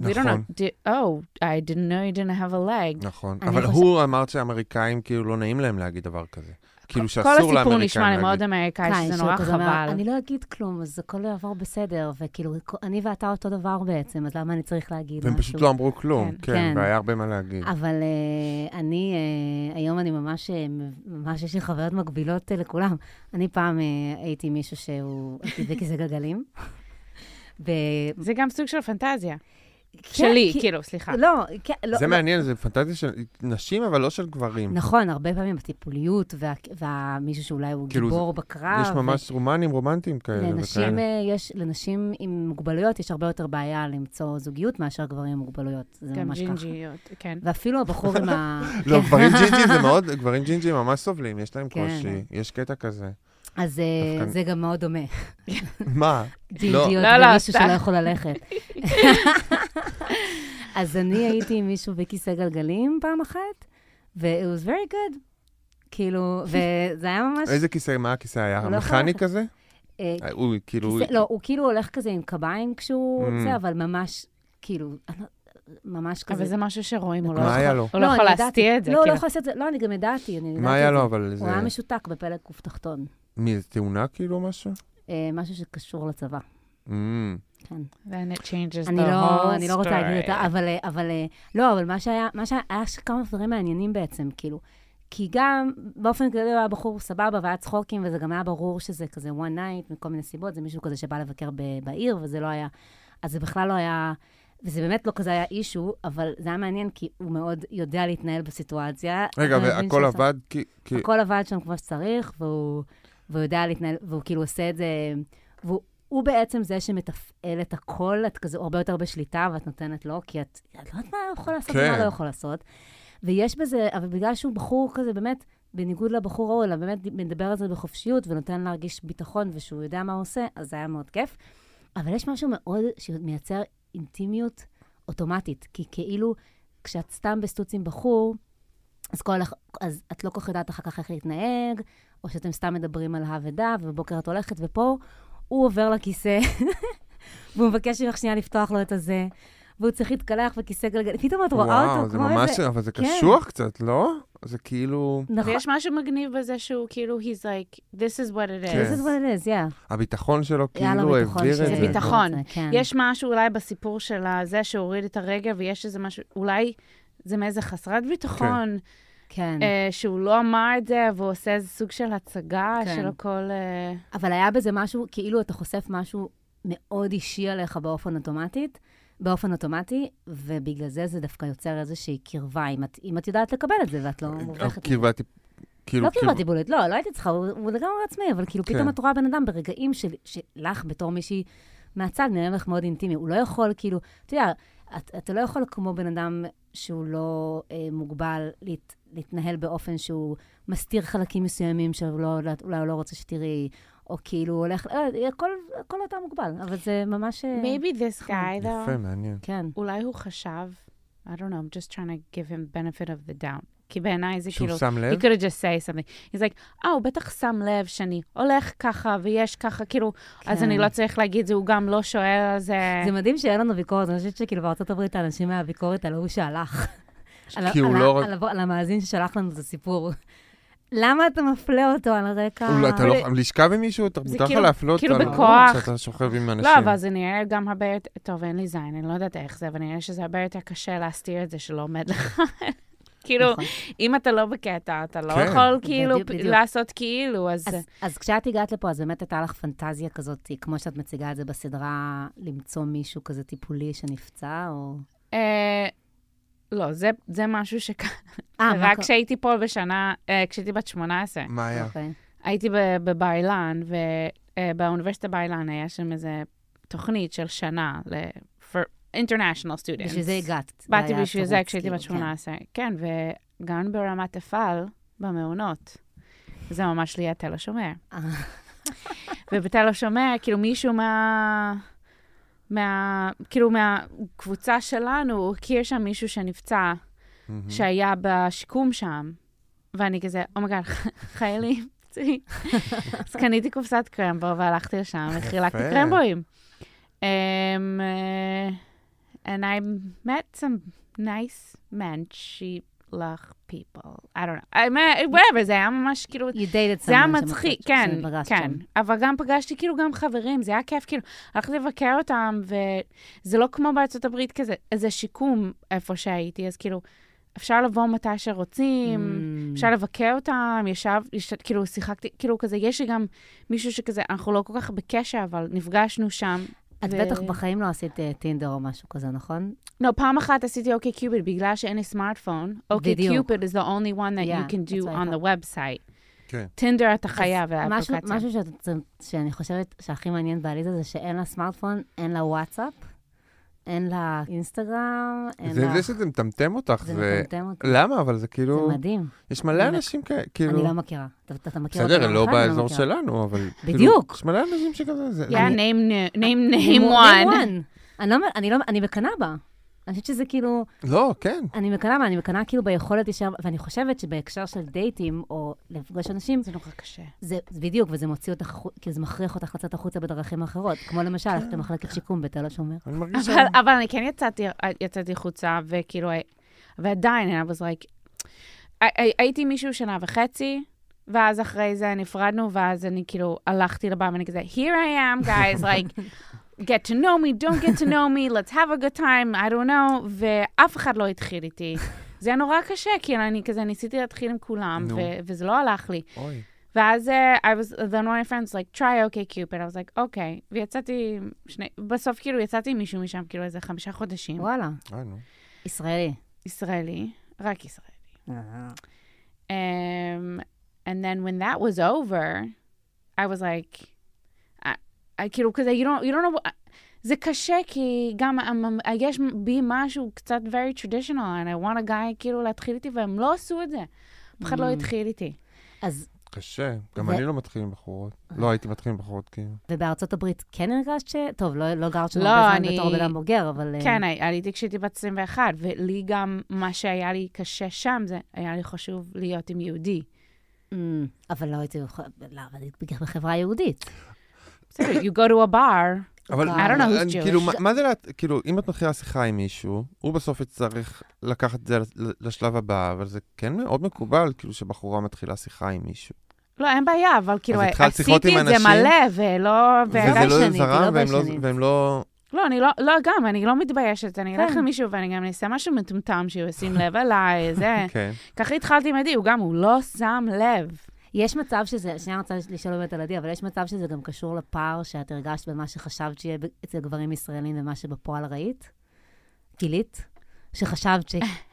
C: we don't
B: נכון.
C: know, di- oh, I didn't know you didn't have a leg.
B: נכון.
D: אני
B: אבל
D: חושבת-
B: הוא אמר שהאמריקאים, כאילו, לא נעים להם להגיד דבר כזה. כאילו, שאסור
C: כל
B: לאמריקאים להגיד.
C: הסיפור נשמע לי מאוד אמריקאי,
D: כן,
C: שזה
D: שהוא
C: נורא
D: כזה אומר,
C: חבל.
D: אני לא אגיד כלום, אז הכל יעבור בסדר, וכאילו, כ- אני ואתה אותו דבר בעצם, אז למה אני צריך להגיד משהו?
B: והם פשוט לא אמרו כלום,
C: כן.
B: כן,
D: כן.
B: והיה הרבה מה להגיד.
D: אבל אה, אני, אה, היום אני ממש, אה, מ- ממש יש לי חוויות מקבילות אה, לכולם. אני פעם אה, הייתי מישהו שהוא, הייתי בכיסא גלגלים. ב-
C: זה גם סוג של פנטזיה.
D: כן,
C: שלי,
D: כי-
C: כאילו, סליחה.
D: לא, כן, לא.
B: זה
D: לא.
B: מעניין, זה פנטזיה של נשים, אבל לא של גברים.
D: נכון, הרבה פעמים הטיפוליות, וה- והמישהו שאולי הוא
B: כאילו,
D: גיבור
C: נכון,
D: בקרב.
B: יש ממש רומנים רומנטיים כאלה.
D: לנשים,
B: וכאלה.
D: אה, יש, לנשים עם מוגבלויות יש הרבה יותר בעיה למצוא זוגיות מאשר גברים עם מוגבלויות. זה
C: גם
D: ממש ככה. לא,
C: ג'ינג'יות, כן.
D: ואפילו הבחור עם ה...
B: לא, גברים ג'ינג'ים זה מאוד, גברים ג'ינג'ים ממש סובלים, יש להם
D: כן.
B: קושי, יש קטע כזה.
D: אז אה,
B: דווקא- לא.
D: זה גם מאוד דומה.
B: מה?
D: ג'ינג'יות
C: לא, לא,
D: ומישהו
C: סתם.
D: שלא יכול ללכת. אז אני הייתי עם מישהו בכיסא גלגלים פעם אחת, ו-it was very good. כאילו, וזה היה ממש...
B: איזה כיסא, מה הכיסא היה?
D: הוא לא יכול
B: המכני
D: ללכת.
B: כזה?
D: אה,
B: אה, הוא כאילו...
D: כיסא- לא, הוא כאילו הולך כזה עם קביים כשהוא
B: Mm.
D: זה, אבל ממש, כאילו, אני לא- ממש כזה.
C: אבל זה משהו שרואים, הוא לא
B: מה היה
C: יכול-
B: לו?
C: הוא לא
D: אני
C: יכול
D: ידעתי.
C: להסתיר את זה.
D: לא, הוא לא
C: כאילו.
D: יכול לעשות את זה. לא, אני גם ידעתי, אני ידעתי.
B: מה היה
D: את
B: לו,
D: זה.
B: אבל זה...
D: הוא היה משותק בפלג גוף תחתון.
B: מי, זה תאונה כאילו או משהו?
D: אה, משהו שקשור לצבא.
B: Mm.
D: כן.
C: Then it changes the
D: אני לא,
C: whole
D: אני לא רוצה להגיד
C: story.
D: אותה, אבל, אה, אבל, אה, לא, אבל מה שהיה, מה שהיה, היה ש- כמה דברים מעניינים בעצם, כאילו. כי גם, באופן כללי הוא היה בחור סבבה והיה צחוקים, וזה גם היה ברור שזה כזה one night מכל מיני סיבות, זה מישהו כזה שבא לבקר ב- בעיר, וזה לא היה, אז זה בכלל לא היה, וזה באמת לא כזה היה אישו, אבל זה היה מעניין, כי הוא מאוד יודע להתנהל בסיטואציה.
B: רגע,
D: אתה מבין
B: והכל
D: שאתה-
B: עבד כי... כי-
D: הכל עבד שם כמו שצריך, והוא, והוא יודע להתנהל, והוא כאילו עושה את זה, והוא הוא בעצם זה שמתפעל את הכל, את כזה הרבה יותר בשליטה, ואת נותנת לו, כי את, את לא יודעת מה הוא יכול לעשות
B: כן.
D: ומה לא יכול לעשות. ויש בזה, אבל בגלל שהוא בחור כזה, באמת, בניגוד לבחור ההוא, אלא באמת מדבר על זה בחופשיות, ונותן להרגיש ביטחון, ושהוא יודע מה הוא עושה, אז זה היה מאוד כיף. אבל יש משהו מאוד שמייצר אינטימיות אוטומטית, כי כאילו, כשאת סתם בסטוץ עם בחור, אז, כל, הח- אז את לא כל כך יודעת אחר כך איך להתנהג, או שאתם סתם מדברים על האבדה, ובבוקר את הולכת, ופה הוא עובר לכיסא, והוא מבקש ממך שנייה לפתוח לו את הזה, והוא צריך להתקלח בכיסא גלגל, פתאום את רואה
B: וואו,
D: אותו
B: זה
D: כמו
B: ממש...
D: איזה...
B: אבל זה
D: כן.
B: קשוח קצת, לא? זה כאילו...
D: נכון,
C: ויש משהו מגניב בזה שהוא כאילו, he's like, this is what it
B: כן.
C: is.
D: זה what it is, yeah.
B: הביטחון שלו
D: יאללה,
B: כאילו
D: ביטחון
B: העביר את
D: שלו.
B: זה.
C: זה ביטחון.
D: זה, כן.
C: יש משהו אולי בסיפור של זה שהוריד את הרגל, ויש איזה משהו, אולי זה מאיזה חסרת ביטחון,
D: כן.
C: אה, שהוא לא אמר את זה, והוא עושה איזה סוג של הצגה
D: כן.
C: של הכל... אה,
D: אבל היה בזה משהו, כאילו אתה חושף משהו מאוד אישי עליך באופן אוטומטית, באופן אוטומטי, ובגלל זה זה דווקא יוצר איזושהי קרבה, אם את, אם את יודעת לקבל את זה ואת לא מובכת.
B: כאילו, והטיפ- כאילו,
D: לא
B: כאילו-
D: קרבה טיפולית, לא, לא הייתי צריכה, הוא הוא לגמרי עצמאי, אבל כאילו
B: כן.
D: פתאום את רואה בן אדם ברגעים של- שלך בתור מישהי מהצד, נראה לך מאוד אינטימי. הוא לא יכול, כאילו, אתה יודע, את- אתה לא יכול כמו בן אדם שהוא לא אה, מוגבל להת- להתנהל באופן שהוא מסתיר חלקים מסוימים שאולי הוא לא רוצה שתראי, או כאילו הוא הולך, אה, הכל, הכל אתה מוגבל, אבל זה ממש... אה,
C: Maybe this guy,
B: יפה,
C: though,
B: מעניין.
D: כן.
C: אולי הוא חשב, I don't know, I'm just trying to give him benefit of the doubt. כי בעיניי זה
B: שהוא
C: כאילו,
B: שם
C: he
B: לב?
C: could have just say something. He's like, אה, הוא בטח שם לב שאני הולך ככה ויש ככה, כאילו, אז
D: כן.
C: אני לא צריך להגיד זה, הוא גם לא שואל על זה.
D: זה מדהים שאין לנו ביקורת, אני חושבת שכאילו בארצות הברית האנשים מהביקורת על ההוא שהלך. על-
B: כי הוא
D: על-
B: לא-
D: על ה- על המאזין ששלח לנו את הסיפור. למה אתה מפלה אותו על הרקע?
B: אולי אתה לא חייב לשכב עם מישהו, אתה
C: זה
B: מותר לך
C: כאילו-
B: להפלות
C: כאילו
B: על-
C: בכוח.
B: כשאתה שוכב עם אנשים.
C: לא, אבל זה נראה גם הרבה יותר, טוב, אין לי זין, אני לא יודעת איך זה, אבל נראה שזה הרבה יותר קשה להסתיר את זה שלא עומד לך. כאילו,
D: נכון.
C: אם אתה לא בקטע, אתה לא
B: כן.
C: יכול כאילו
D: בדיוק,
C: פ-
D: בדיוק.
C: לעשות כאילו, אז...
D: אז- אז כשאת הגעת לפה, אז באמת הייתה לך פנטזיה כזאת, כמו שאת מציגה את זה בסדרה, למצוא מישהו כזה טיפולי שנפצע, או...
C: אה, לא, זה- זה משהו שקרה
D: אה, מה
C: רק
D: קרה?
C: כשהייתי פה בשנה, אה, כשהייתי בת 18.
B: מה היה?
D: אוקיי.
C: הייתי ב- בבר אילן, ובאוניברסיטה בר אילן היה שם איזה תוכנית של שנה ל... for international students.
D: בשביל זה הגעת.
C: באתי
D: היה
C: בשביל זה
D: תירוץ,
C: כשהייתי בת
D: כאילו, כן.
C: 18. כן, וגם ברמת אפעל, במעונות. זה ממש ליד תל השומר.
D: אה.
C: ובתל השומר, כאילו מישהו מה... מה... כאילו מהקבוצה שלנו, הוא הכיר שם מישהו שנפצע,
B: מהמם.
C: שהיה בשיקום שם. ואני כזה, אומייגאד, חיילים, פצועים. אז קניתי קופסת קרמבו והלכתי לשם וחילקתי
B: יפה.
C: קרמבואים. Um, uh, and I met some nice men, she love people. I don't know. I met, whatever, זה היה ממש כאילו...
D: You dated someone
C: זה היה
D: שמצאת-
C: מצחיק, כן,
D: שנפגשת
C: כן.
D: שם.
C: אבל גם פגשתי כאילו גם חברים, זה היה כיף, כאילו, הלכתי לבקר אותם, וזה לא כמו בארצות הברית כזה, איזה שיקום איפה שהייתי, אז כאילו, אפשר לבוא מתי שרוצים,
D: Mm.
C: אפשר לבקר אותם, ישב, יש, כאילו, שיחקתי, כאילו, כזה, יש לי גם מישהו שכזה, אנחנו לא כל כך בקשר, אבל נפגשנו שם.
D: את
C: ו-
D: בטח בחיים לא עשית אה, טינדר או משהו כזה, נכון?
C: לא, פעם אחת עשיתי אוקיי קיופיד, בגלל שאין לי סמארטפון. אוקיי
D: בדיוק.
C: קיופיד is the only one that
D: Yeah,
C: you can
D: that's
C: do
D: what I
C: on the website.
B: כן.
C: טינדר אתה חייב,
D: משהו,
C: האפליקציה.
D: משהו שאת, שאני חושבת שהכי מעניין בעליזה זה שאין לה סמארטפון, אין לה וואטסאפ, אין לה אינסטגרם, אין
B: זה
D: לה...
B: זה שזה מטמטם אותך,
D: זה
B: זה...
D: מטמטם אותי.
B: למה? אבל זה
D: זה
B: כאילו...
D: מדהים.
B: יש מלא
D: אני-
B: אנשים כאלה,
D: אני
B: כאילו...
D: לא מכירה. אתה- אתה אתה מכיר אותי?
B: בסדר, לא
D: נכון? אני
B: באזור
D: מכירה.
B: שלנו, אבל... כאילו,
D: בדיוק.
B: יש מלא אנשים שכזה... זה-
C: Yeah,
B: אני-
C: name, name, אה,
D: אני
C: name
D: מ-
C: one.
D: name one. אני לא, מ- אני לא, אני מקנאה בה. אני חושבת שזה כאילו,
B: לא, כן.
D: אני מקנאה בה, אני מקנאה כאילו ביכולת להישאר, ואני חושבת שבהקשר של דייטים, או לפגוש אנשים,
C: זה נורא קשה.
D: זה זה בדיוק, וזה מוציא אותך, החו- כאילו זה מכריח אותך לצאת החוצה בדרכים אחרות, כמו למשל, ללכת למחלקת שיקום בתל השומר.
B: אני מרגיש ש...
C: אבל, אבל אני כן יצאתי, יצאתי חוצה, וכאילו, I- ועדיין, I was like, הי- הי- הייתי עם מישהו שנה וחצי, ואז אחרי זה נפרדנו, ואז אני כאילו הלכתי לבא, ואני כזה, here I am, guys, like, get to know me, don't get to know me, let's have a good time, I don't know, ואף אחד לא התחיל איתי. זה היה נורא קשה, כי אני כזה ניסיתי להתחיל עם כולם,
B: נו.
C: ו- וזה לא הלך לי.
B: אוי.
C: ואז אה, I was, then one of my friends like, try okay cupid, I was like, אוקיי. ויצאתי עם שני, בסוף כאילו יצאתי עם מישהו משם, כאילו איזה חמישה חודשים.
D: וואלה,
B: אה, נו.
D: ישראלי.
C: ישראלי, רק ישראלי. Um, and then when that was over, I was like, I, I, כאילו כזה, you don't, you don't know, what- זה קשה, כי גם um, I'm- I'm- יש בי משהו קצת very traditional, and I want a guy כאילו להתחיל איתי, והם לא עשו את זה. אף אחד לא
D: Mm.
C: התחיל איתי.
D: אז,
B: קשה. גם
D: זה-
B: אני לא מתחיל עם בחורות. לא הייתי מתחיל עם בחורות, כאילו.
D: ובארצות הברית כן הרגשת ש... טוב, לא, לא גרת שם
C: לא,
D: הרבה זמן
C: אני-
D: בתור בן אדם בוגר, אבל... אה,
C: כן, הי- עליתי כשהייתי בת 21, ולי גם, מה שהיה לי קשה שם, זה היה לי חשוב להיות עם יהודי.
D: אמ, אבל לא הייתי יכולה... לא, אבל היית בגלל בחברה היהודית.
C: בסדר, you go to a bar.
B: אבל...
D: I
C: don't know who's
B: אני-
C: Jewish.
B: כאילו, מה- מה זה... לה- כאילו, אם את מתחילה שיחה עם מישהו, הוא בסוף יצטרך לקחת את זה לשלב הבא, אבל זה כן מאוד מקובל, כאילו, שבחורה מתחילה שיחה עם מישהו.
C: לא, אין בעיה, אבל כאילו,
B: התחלת
C: עשיתי
B: שיחות
C: את
B: עם
C: זה
B: אנשים?
C: מלא, ולא...
B: וזה
C: והרגשתי- כאילו,
B: לא
D: בלשנית,
B: זרם,
D: לא
B: והם לא-
D: בלשנית.
B: והם לא...
C: לא, אני לא, לא, גם, אני לא מתביישת. אני אלך
D: כן.
C: למישהו ואני גם אעשה משהו מטומטם שהוא ישים לב עליי, זה.
B: כן.
C: ככה התחלתי עם עדי, הוא גם, הוא לא שם לב.
D: יש מצב שזה, שנייה אני רוצה לשאול באמת על עדי, אבל יש מצב שזה גם קשור לפער שאת הרגשת בין מה שחשבת שיהיה ב- אצל גברים ישראלים ומה שבפועל ראית? גילית? שחשבת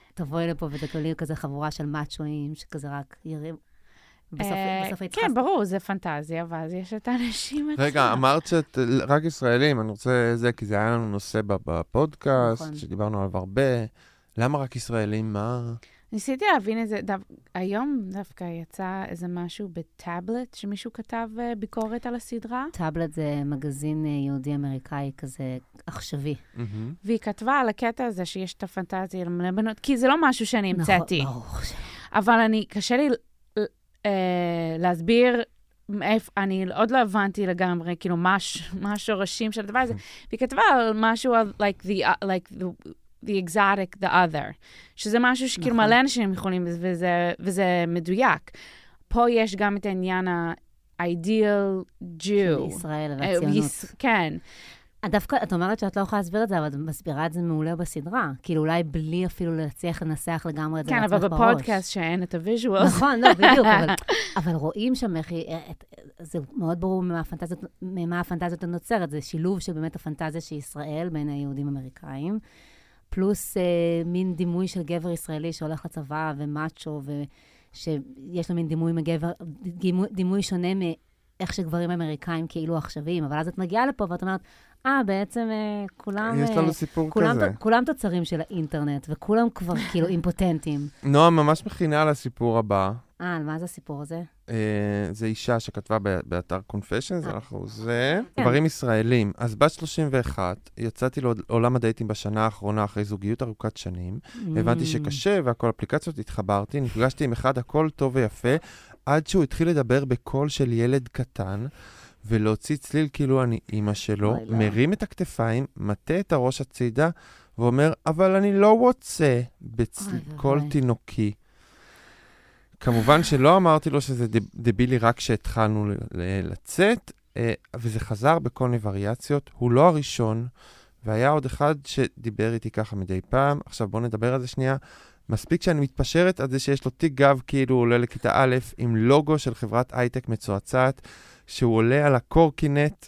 D: שתבואי לפה ותגלי כזה חבורה של מאצ'ואים, שכזה רק ירים... בסוף
C: אה,
D: בסוף היית
C: כן, ברור, זה פנטזיה, ואז יש את האנשים עצמם.
B: רגע, אמרת שאת אה, רק ישראלים, אני רוצה זה, כי זה היה לנו נושא ב- בפודקאסט,
D: נכון. Mm-hmm.
B: שדיברנו עליו הרבה. למה רק ישראלים? מה?
C: ניסיתי להבין איזה, דו... היום דווקא יצא איזה משהו בטאבלט, שמישהו כתב אה, ביקורת על הסדרה,
D: טאבלט זה מגזין אה, יהודי-אמריקאי כזה עכשווי.
B: מהמם.
C: והיא כתבה על הקטע הזה שיש את הפנטזיה לבנות, כי זה לא משהו שאני המצאתי.
D: נכון, ברוך השם.
C: אבל אני, קשה לי ל- ל- אה, להסביר מאיפה, אני עוד לא הבנתי לגמרי, כאילו, מה, הש- מה השורשים של הדבר הזה. והיא כתבה על משהו, על, like the, uh, like the, the exotic, the other, שזה משהו שכאילו
D: נכון.
C: מלא אנשים יכולים, וזה, וזה מדויק. פה יש גם את העניין ה-ideal Jew.
D: ישראל
C: אה,
D: והציונות.
C: יש- כן.
D: את דווקא, את אומרת שאת לא יכולה להסביר את זה, אבל את מסבירה את זה מעולה בסדרה. כאילו, אולי בלי אפילו להצליח לנסח לגמרי את זה
C: כן,
D: לעצמך
C: אבל
D: בראש.
C: בפודקאסט שאין את הוויז'ואל.
D: נכון, לא, בדיוק, אבל, אבל רואים שם איך היא, אה, את- זה מאוד ברור ממה הפנטזיות, ממה הפנטזיות נוצרת, זה שילוב של באמת הפנטזיה של ישראל בין היהודים האמריקאים, פלוס אה, מין דימוי של גבר ישראלי שהולך לצבא ומאצ'ו, ושיש לו מין דימוי מגבר, דימוי, דימוי שונה מאיך שגברים אמריקאים כאילו עכשוויים, אבל אז את מגיעה לפה ואת אומרת, אה, בעצם אה, כולם...
B: יש
D: אה,
B: לנו סיפור
D: כולם,
B: כזה.
D: ת- כולם תוצרים של האינטרנט, וכולם כבר כאילו אימפוטנטים.
B: נועה ממש מכינה על הסיפור הבא.
D: אה, על מה זה הסיפור הזה?
B: אה, זה אישה שכתבה ב- באתר קונפשיונס,
D: אה.
B: אנחנו זה.
D: כן.
B: גברים ישראלים. אז בת 31, יצאתי לעולם הדייטים בשנה האחרונה אחרי זוגיות ארוכת שנים.
C: Mm.
B: הבנתי שקשה והכל אפליקציות, התחברתי, נפגשתי עם אחד, הכל טוב ויפה, עד שהוא התחיל לדבר בקול של ילד קטן. ולהוציא צליל כאילו אני אימא שלו,
D: אוי, לא.
B: מרים את הכתפיים, מטה את הראש הצידה ואומר, אבל אני לא רוצה,
D: אוי
B: בקול
D: ואבוי.
B: תינוקי. כמובן שלא אמרתי לו שזה דב- דבילי רק כשהתחלנו ל- ל- לצאת, אה, וזה חזר בכל מיני וריאציות. הוא לא הראשון, והיה עוד אחד שדיבר איתי ככה מדי פעם. עכשיו בואו נדבר על זה שנייה. מספיק שאני מתפשרת על זה שיש לו תיק גב כאילו הוא עולה לכיתה א' עם לוגו של חברת הייטק מצועצעת, שהוא עולה על הקורקינט,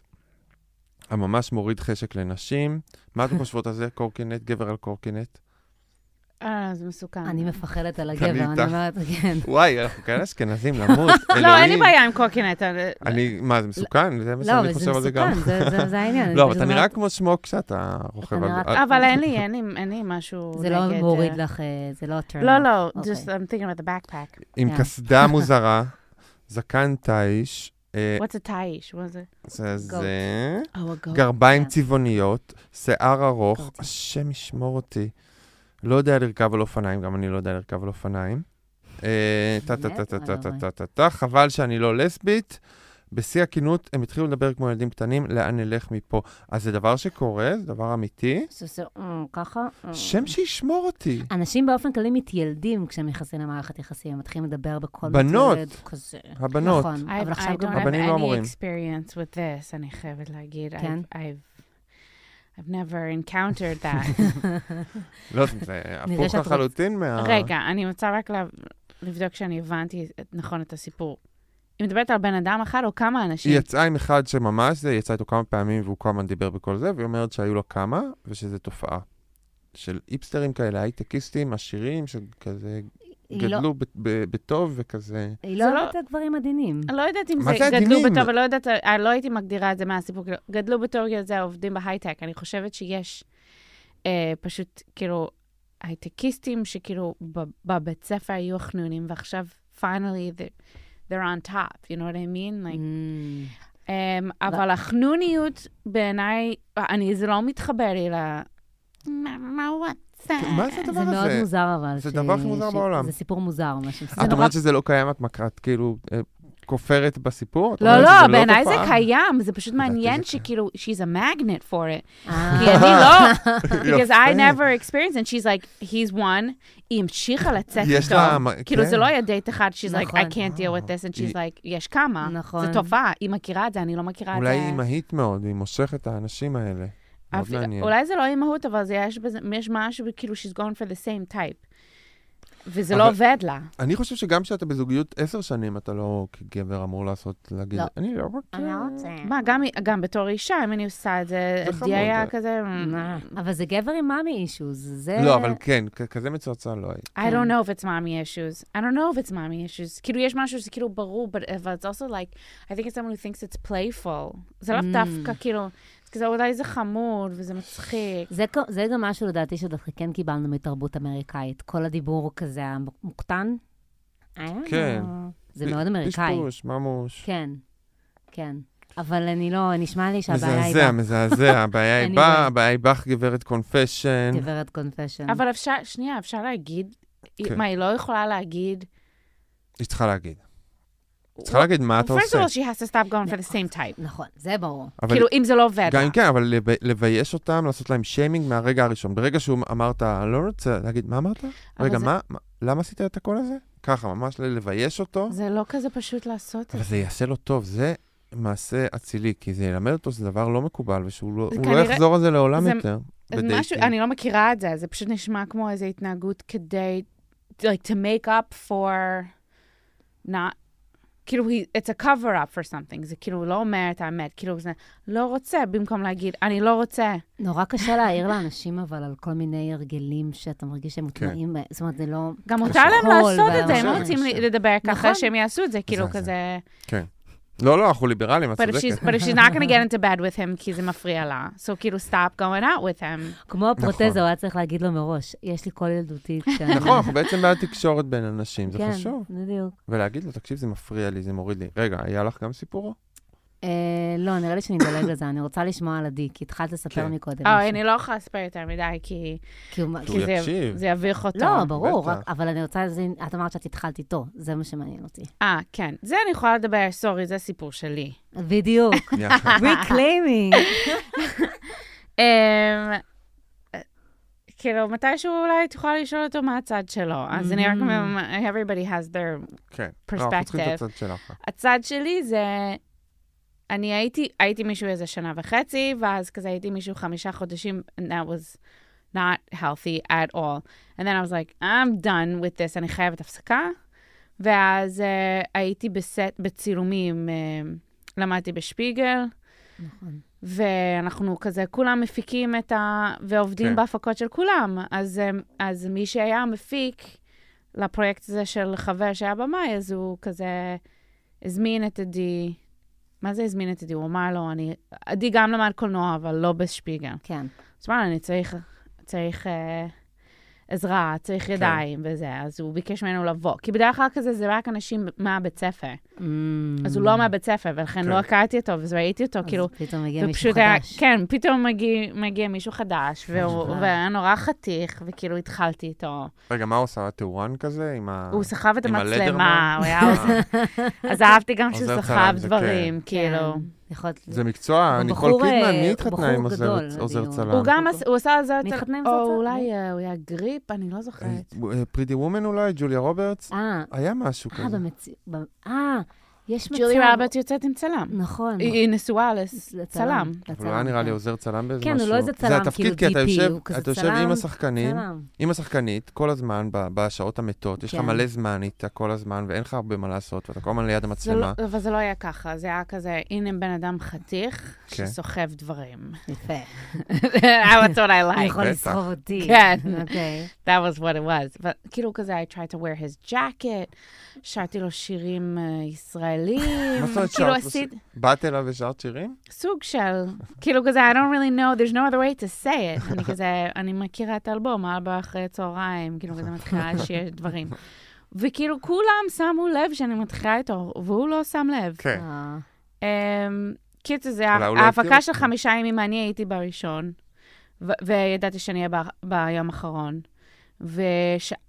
B: הממש מוריד חשק לנשים. מה אתם חושבות על זה? קורקינט, גבר על קורקינט?
C: אה, זה מסוכן.
D: אני מפחדת על
B: אני
D: הגבר, אני
B: איתך.
D: אומרת, כן.
B: וואי, אנחנו כאלה אשכנזים, למות, אלוהים.
C: לא, אין לי בעיה עם אה, קורקינט. אבל-
B: אני, מה, זה מסוכן? זה מה
D: לא,
B: שאני
D: אבל זה
B: חושב על זה גם.
D: מסוכן, זה- זה- זה העניין. אני
B: לא, אבל
D: פשוט
B: אתה נראה
D: אומרת,
B: כמו שמוק כשאתה רוכב על
D: נראה-
B: זה.
C: אבל אין לי, אין לי- אין לי משהו נגד...
D: זה לא
C: אה,
D: מוריד לך, אה, זה לא טרנר.
C: לא, לא,
D: אוקיי.
C: just I'm thinking about the backpack.
B: עם
D: כן.
B: קסדה מוזרה, זקן טייש, אה,
C: What's a taish? What's it?
B: זה
D: goat.
B: זה,
C: Oh, a goat.
B: גרביים
D: כן.
B: צבעוניות, שיער ארוך,
D: goat.
B: השם ישמור אותי. לא יודע לרכב על אופניים, גם אני לא יודע לרכב על אופניים. אה, טה טה טה טה טה טה טה טה טה, חבל שאני לא לסבית. בשיא הכנות, הם התחילו לדבר כמו ילדים קטנים, לאן נלך מפה. אז זה דבר שקורה, זה דבר אמיתי.
D: זה עושה, אה, ככה. אה.
B: שם שישמור אותי.
D: אנשים באופן כללי מתיילדים כשהם נכנסים למערכת יחסים, הם מתחילים לדבר בקול
B: בנות.
D: מתיילד כזה.
B: הבנות.
D: נכון,
C: I
D: אבל
C: I
D: עכשיו גם...
C: don't have
B: הבנים לא
C: any
B: אמורים.
C: experience with this, אני חייבת להגיד. I've-
D: כן.
C: I've I've never encountered that.
B: לא, זה הפוך
D: שאת רוצ-
B: לחלוטין מה...
C: רגע, אני רוצה רק לב- לבדוק שאני הבנתי את- נכון את הסיפור. היא מדברת על בן אדם אחד או כמה אנשים?
B: היא יצאה עם אחד שממש זה, היא יצאה איתו כמה פעמים והוא כל הזמן דיבר בכל זה, והיא אומרת שהיו לו כמה, ושזו תופעה. של איפסטרים כאלה, הייטקיסטים, עשירים, שכזה
D: היא לא-
B: גדלו ב- ב- בטוב וכזה.
D: היא
C: זה
D: לא
C: לא-
D: אוהבת את הגברים עדינים.
C: אני לא יודעת אם
B: מה
C: זה
B: זה
C: גדלו
B: הדינים?
C: בתור, אבל לא יודעת, אה, לא הייתי מגדירה את זה מהסיפור, כאילו, גדלו בתור זה עובדים בהייטק. אני חושבת שיש אה, פשוט, כאילו, הייטקיסטים שכאילו ב- בבית ספר היו חנונים, ועכשיו, finally, they- they're on top, you know what I mean? Like,
D: אמ,
B: Mm.
C: אמ, אבל החנוניות, בעיניי, אני, זה לא מתחבר לי ל... מה- מה הוא רוצה?
B: כן, מה זה הדבר
D: זה מאוד
B: הזה?
D: מוזר אבל.
B: זה
D: ש-
B: דבר הכי מוזר
D: ש-
B: בעולם.
D: זה סיפור מוזר, מה שהם
B: את
C: נורא-
B: אומרת שזה לא קיים, את מקרה- את כאילו אה, כופרת בסיפור? את
C: לא,
B: אומרת שזה
C: לא, בעיניי זה
B: תופעה?
C: קיים, זה פשוט
B: לדעתי זה
C: מעניין
B: קיים.
C: שכאילו, she's a magnet for it.
D: אה.
C: כי אני לא, because I
B: יפה.
C: never experienced, and she's like, he's one, היא המשיכה לצאת
B: יש
C: איתו.
B: לה מ-
C: כאילו,
B: כן.
C: זה לא היה דייט אחד, she's like,
D: נכון.
C: I can't deal with this, and she's
B: היא-
C: like, יש כמה.
D: נכון.
C: זה תופעה, היא מכירה את זה, אני לא מכירה את זה.
B: אולי היא אימהית מאוד, והיא מושכת את האנשים האלה. מאוד
C: אפילו-
B: מעניין.
C: אולי זה לא אימהות, אבל זה יש בזה, יש משהו, כאילו, she's going for the same type. וזה
B: אבל-
C: לא עובד לה.
B: אני חושב שגם כשאתה בזוגיות עשר שנים, אתה לא כגבר אמור לעשות, להגיד,
D: לא.
B: אני לא רוצה.
C: מה, גם- גם בתור אישה, אם אני עושה את זה,
B: זה
C: די
B: חמוד,
C: היה
B: אה.
C: כזה... "Mm,
D: אבל זה גבר עם מאמי אישוז, זה...
C: אה,
B: לא, אבל כן, כ- כזה מצועצע לא הייתי.
C: I don't know if it's mommy issues. I don't know if it's mommy issues. כאילו, יש משהו שזה
B: Hmm.
C: כאילו ברור, but, אבל it's also like, I think it's someone who thinks it's playful. זה לא
D: Mm.
C: דווקא, כאילו, כזה אולי זה חמוד וזה מצחיק.
D: זה, כ- זה גם משהו לדעתי שדווקא כן קיבלנו מתרבות אמריקאית. כל הדיבור כזה המוקטן.
C: אה.
B: כן.
D: זה מאוד אמריקאי.
B: פשפוש, ממוש.
D: כן, כן. אבל אני לא, נשמע לי שהבעיה היא...
B: מזעזע, מזעזע. הבעיה היא
D: אני
B: בה,
D: רואה.
C: לא-
B: הבעיה היא בך, גברת קונפשן.
D: בה- גברת קונפשן.
C: אבל אפשר, שנייה, אפשר להגיד, היא-
B: כן.
C: מה, היא לא יכולה להגיד?
B: היא צריכה להגיד. היא צריכה להגיד מה אתה
C: First
B: עושה.
C: of all, she has to stop going for the same type.
D: נכון, זה ברור.
B: אבל
C: לא כאילו, אם זה לא עובד
B: גם אם
C: לה.
B: כן, אבל לב- לבייש אותם, לעשות להם שיימינג מהרגע הראשון. ברגע שהוא אמרת, "אני לא רוצה, להגיד, מה אמרת?
C: אבל
B: רגע,
C: זה-
B: מה? מה- למה עשית את הקול הזה? ככה, ממש ל- לבייש אותו.
C: זה לא כזה פשוט לעשות את
B: אבל
C: זה.
B: זה יעשה לו טוב, זה מעשה אצילי, כי זה ילמד אותו שזה דבר לא מקובל, ושהוא לא,
C: זה
B: הוא לא
C: כנראה-
B: יחזור על זה לעולם
C: זה-
B: יותר.
C: אז
B: בדייטים.
C: משהו, אני לא מכירה את זה, זה פשוט נשמע כמו איזו התנהגות כדי, like to make up for, not, כאילו, he- it's a cover up for something, זה כאילו לא אומר את האמת, כאילו זה לא רוצה, במקום להגיד, אני לא רוצה.
D: נורא קשה להעיר לאנשים, אבל על כל מיני הרגלים שאתה מרגיש שהם
B: כן.
D: מוטמעים, בהם. זאת אומרת, זה לא...
C: גם
B: קשה.
C: מותר להם
D: חול
C: לעשות את זה, הם לא
B: והלבן.
C: רוצים לדבר ככה,
D: נכון.
C: שהם יעשו את זה, כאילו
B: זה- זה.
C: כזה,
B: לא, לא, אנחנו ליברלים, את
C: but if she's
B: צודקת.
C: but if she's not gonna get into bed with him, כי זה מפריע לה, so כאילו stop going out with him.
D: כמו הפרוטזה, הוא היה צריך להגיד לו מראש, יש לי קול ילדותי. שאני-"
B: נכון, אנחנו בעצם בעד תקשורת בין אנשים, זה
D: כן,
B: חשוב.
D: בדיוק.
B: ולהגיד לו, תקשיב, זה מפריע לי, זה מוריד לי. רגע, היה לך גם סיפור?
D: אה, לא, נראה לי שנדלג לזה, אני רוצה לשמוע על עדי, כי התחלת לספר
B: כן.
D: מקודם.
C: אה,
D: משהו.
C: אני לא יכולה לספר יותר מדי, כי
D: כי הוא-
B: כי
D: כי
B: הוא
C: זה-
B: יקשיב.
C: זה יביך אותו.
D: לא, ברור,
B: בטח.
D: רק- אבל אני רוצה, להבין- את אמרת שאת התחלת איתו, זה מה שמעניין אותי.
C: אה, כן. זה אני יכולה לדבר, סורי, זה סיפור שלי.
D: בדיוק.
B: יחד.
D: ריקליימינג.
C: אמ, כאילו, מתישהו אולי את יכולה לשאול אותו מה הצד שלו. אז אני רק אומרת, everybody has their...
B: כן. לא, אנחנו צריכים את
C: Perspective.
B: הצד שלך.
C: הצד שלי זה... אני הייתי, הייתי מישהו איזה שנה וחצי, ואז כזה הייתי מישהו חמישה חודשים, and that was not healthy at all. And then I was like, I'm done with this, אני חייבת הפסקה. ואז uh, הייתי בסט, בצילומים, uh, למדתי בשפיגל, ואנחנו כזה, כולם מפיקים את ה... ועובדים
B: כן.
C: כן. בהפקות של כולם. אז, אמ, אז מי שהיה מפיק לפרויקט הזה של חבר שהיה במאי, אז הוא כזה הזמין את עדי. מה זה הזמין את עדי? הוא אמר לו, אני... עדי גם למד קולנוע, אבל לא בשפיגל.
D: כן.
C: אז מה, אני צריך, צריך אה, עזרה, צריך ידיים וזה. אז הוא ביקש ממנו לבוא. כי בדרך כלל כזה זה רק אנשים מהבית ספר. אז הוא לא מהבית ספר, ולכן
B: כן.
C: לא הכרתי אותו, אז ראיתי אותו,
D: Mm, אז
C: כאילו...
D: פתאום הגיע מישהו
C: ופשוט היה,
D: חדש.
C: כן, פתאום מגיע, מגיע מישהו חדש, והוא,
D: בכלל.
C: והיה נורא חתיך, וכאילו התחלתי איתו.
B: רגע, מה הוא עשה? היה טהורן כזה? עם ה...
C: הוא סחב את
B: אה. עם אה,
C: המצלמה,
B: הלדרמן?
C: הוא היה עוזר. אז אהבתי גם שהוא
B: עוזר
C: סחב
B: צלם, זה
C: דברים, כאילו.
D: כן, יכול להיות-
B: זה מקצוע,
D: הוא
B: ניקול
D: בחור,
B: קידמן,
D: אה,
B: מי
D: הוא
B: התחתנה
D: בחור
B: עם עוזר-
D: גדול,
B: עוזר
D: הדיון.
B: צלם?
C: הוא גם עשה, הוא עשה על זה
D: מי
C: יותר,
D: התחתנה עם זה
C: או
D: יותר?
C: אולי
D: מי?
C: אה, הוא היה גריפ, אני לא זוכרת.
B: אה, פרידי וומן אולי? ג'וליה רוברטס?
D: אה,
B: היה משהו
D: אה,
B: כזה.
D: במציאות... אה, יש מצב...
C: ג'ולי רבט יוצאת עם צלם.
D: נכון.
C: היא היא נשואה לצלם.
B: אבל הוא לא היה נראה לי עוזר צלם באיזה
D: כן,
B: משהו.
D: הוא לא איזה צלם,
B: זה התפקיד,
D: כאילו
B: כי אתה
D: DP,
B: יושב-
D: הוא כזה
B: אתה יושב
D: צלם,
B: עם השחקנים,
D: צלם.
B: עם השחקנית, כל הזמן, ב- בשעות המתות. יש לך
D: כן.
B: מלא זמן איתה כל הזמן, ואין לך הרבה מה לעשות, ואתה כל הזמן ליד
C: זה לא-
B: המצלמה.
C: אבל זה לא היה ככה, זה היה כזה, הנה בן אדם חתיך
B: כן.
C: שסוחב דברים.
D: יפה.
C: That's what I
D: הוא
C: like.
D: יכול
B: בטח.
D: לסחוב אותי.
C: כן.
D: אוקיי.
C: That was what it was. But כאילו כזה, I tried to wear his jacket, שרתי לו שירים אה, ישראלים.
B: מה זאת אומרת
C: כאילו
B: שרת לו
C: עשית
B: באת אליו ושרת שירים?
C: סוג של, כאילו כזה, I don't really know, there's no other way to say it. אני כזה, אני מכירה את האלבום, ארבע אחרי צהריים, כאילו כזה מתחילה לשיר דברים. וכאילו כולם שמו לב שאני מתחילה איתו, והוא לא שם לב.
B: כן.
D: אה,
C: אמ, קיצר, זה
B: אולי הוא לא הכיר
C: ההפקה של
B: אותך.
C: חמישה ימים, אני הייתי בראשון, ו- וידעתי שאני אהיה ב- ביום האחרון.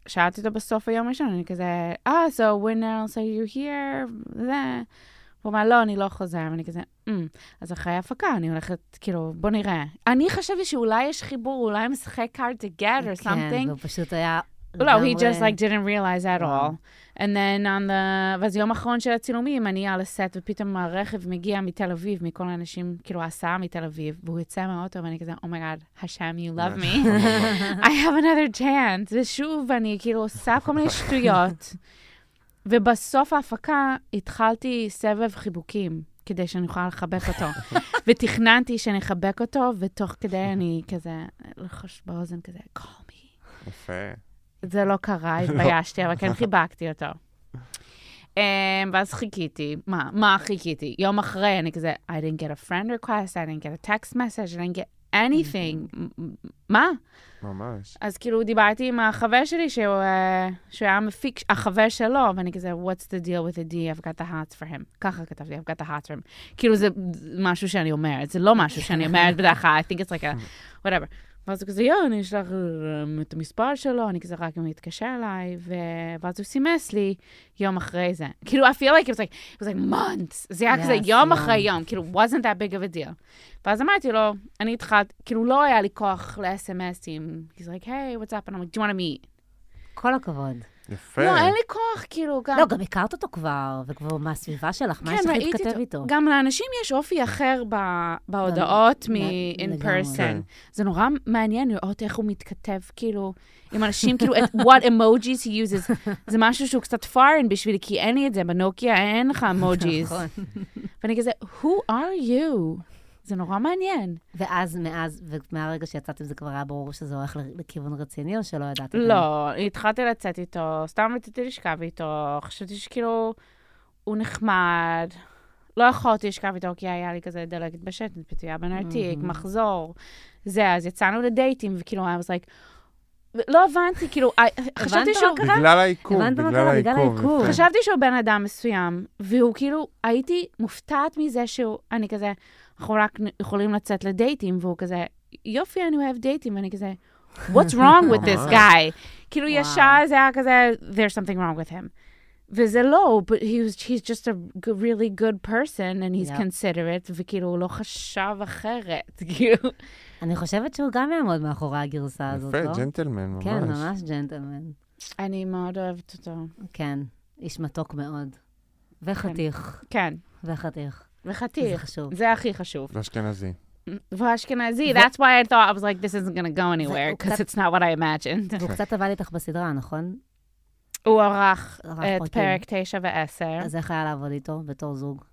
C: ושאלתי אותו בסוף היום הראשון, אני כזה, אה, so when else are you here? זה. הוא אמר, לא, אני לא חוזר, ואני כזה, "אמ, אז אחרי ההפקה, אני הולכת, כאילו, בוא נראה. אני חשבתי שאולי יש חיבור, אולי הוא משחק hard to get or
D: כן,
C: something.
D: והוא פשוט היה...
C: לא, he
D: לגמרי-
C: just like didn't realize at
D: וואו.
C: all. And then on the... ואז יום האחרון של הצילומים, אני על הסט, ופתאום הרכב מגיע מתל אביב, מכל האנשים, כאילו ההסעה מתל אביב, והוא יצא מהאוטו, ואני כזה, Oh my God, השם, you love me. I have another chance. ושוב, אני כאילו עושה כל מיני שטויות. ובסוף ההפקה התחלתי סבב חיבוקים, כדי שאני אוכל לחבק אותו. ותכננתי שאני אחבק אותו, ותוך כדי אני כזה, לחש באוזן כזה, call me.
B: יפה.
C: זה לא קרה, התביישתי, אבל כן חיבקתי אותו. Um, אמ, ואז חיכיתי, מה, מה חיכיתי? יום אחרי, אני כזה, I didn't get a friend request, I didn't get a text message, I didn't get anything. מה?
B: ממש.
C: אז כאילו דיברתי עם החבר שלי, שהוא, אה, שהוא היה מפיק, החבר שלו, ואני כזה, what's the deal with the D, I've got the hearts for him. ככה כתבתי, I've got the hearts for him. כאילו זה משהו שאני אומרת, זה לא משהו שאני אומרת בדרך כלל, I think it's like a, whatever. ואז הוא כזה, יואו, אני אשלח אה, את המספר שלו, אני כזה רק אם הוא יתקשר אליי, ו... ואז הוא סימס לי יום אחרי זה. כאילו, I feel like it was like, it was like months. זה היה כזה
D: Yes,
C: יום
D: yeah.
C: אחרי יום, כאילו, wasn't that big of a deal. ואז אמרתי לו, אני התחלתי, כאילו, לא היה לי כוח ל-SMSים. He's like, hey, what's up? And I'm like, do you want to meet?
D: כל הכבוד.
B: יפה.
C: לא, אין לי כוח, כאילו, גם...
D: כן. לא, גם הכרת אותו כבר, וכבר מהסביבה שלך, מה יש לך
C: כן, ראיתי
D: להתכתב איתו?
C: גם לאנשים יש אופי אחר ב, בהודעות
D: גם-
C: מ-in
D: לא, לגמרי.
B: כן.
C: person. זה נורא מעניין לראות איך הוא מתכתב, כאילו, עם אנשים, כאילו, את what emojis he uses. זה משהו שהוא קצת foreign בשבילי, כי אין לי את זה, בנוקיה אין לך emojis.
D: נכון.
C: ואני כזה, who are you? זה נורא מעניין.
D: ואז, מאז, ומהרגע שיצאתם זה כבר היה ברור שזה הולך ל- לכיוון רציני, או שלא ידעתם?
C: לא, התחלתי לצאת איתו, סתם רציתי לשכב איתו, חשבתי שכאילו, הוא נחמד. לא יכולתי לשכב איתו, כי היה לי כזה דלקת בשתן, פתיעה בנרתיק, מחזור. זה, אז יצאנו לדייטים, וכאילו, I was like, לא הבנתי, כאילו, I- חשבתי
D: מה
C: שהוא
D: קרה?
B: בגלל העיכוב,
D: הבנת מה
B: בגלל
D: קרה? בגלל
B: העיכוב.
D: העיכוב.
B: יפה.
C: חשבתי שהוא בן אדם מסוים, והוא כאילו, הייתי מופתעת מזה שהוא, אני כזה, אנחנו רק יכולים לצאת לדייטים, והוא כזה, יופי, אני אוהב דייטים, ואני כזה, what's wrong with this
B: ממש.
C: guy? כאילו
D: וואו.
C: ישר זה היה כזה, there's something wrong with him. וזה לא, but he was, he's just a good- really good person, and he's
D: Yep.
C: considerate, וכאילו, הוא לא חשב אחרת, כאילו.
D: אני חושבת שהוא גם יעמוד מאחורי הגרסה הזאת, לא?
B: יפה, ג'נטלמן, ממש.
D: כן, ממש ג'נטלמן.
C: אני מאוד אוהבת אותו.
D: כן, איש מתוק מאוד. וחתיך,
C: כן,
D: וחתיך. זה
C: וחתיך.
D: חשוב.
C: זה הכי חשוב.
B: לא ואשכנזי.
C: כן, ואשכנזי,
D: ו-
C: that's why I thought, I was like, this isn't gonna go anywhere,
D: הוא
C: because
D: קצת-
C: it's not what I imagined.
B: כן.
D: והוא קצת עבד איתך בסדרה, נכון?
C: הוא ערך
D: ערך
C: את
D: פרקים.
C: פרק 9 ו-10.
D: אז איך היה לעבוד איתו בתור זוג?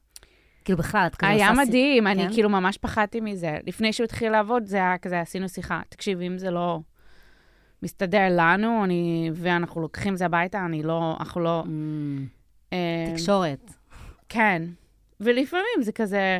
D: כאילו בכלל, את כזה
C: היה
D: עושה סי-
C: מדהים, אני
D: כן?
C: כאילו ממש פחדתי מזה. לפני שהוא התחיל לעבוד, זה היה כזה, עשינו שיחה. תקשיב, אם זה לא מסתדר לנו, אני- ואנחנו לוקחים את זה הביתה, אני לא, אנחנו לא...
D: אמ,
C: אה,
D: תקשורת.
C: כן. ולפעמים זה כזה,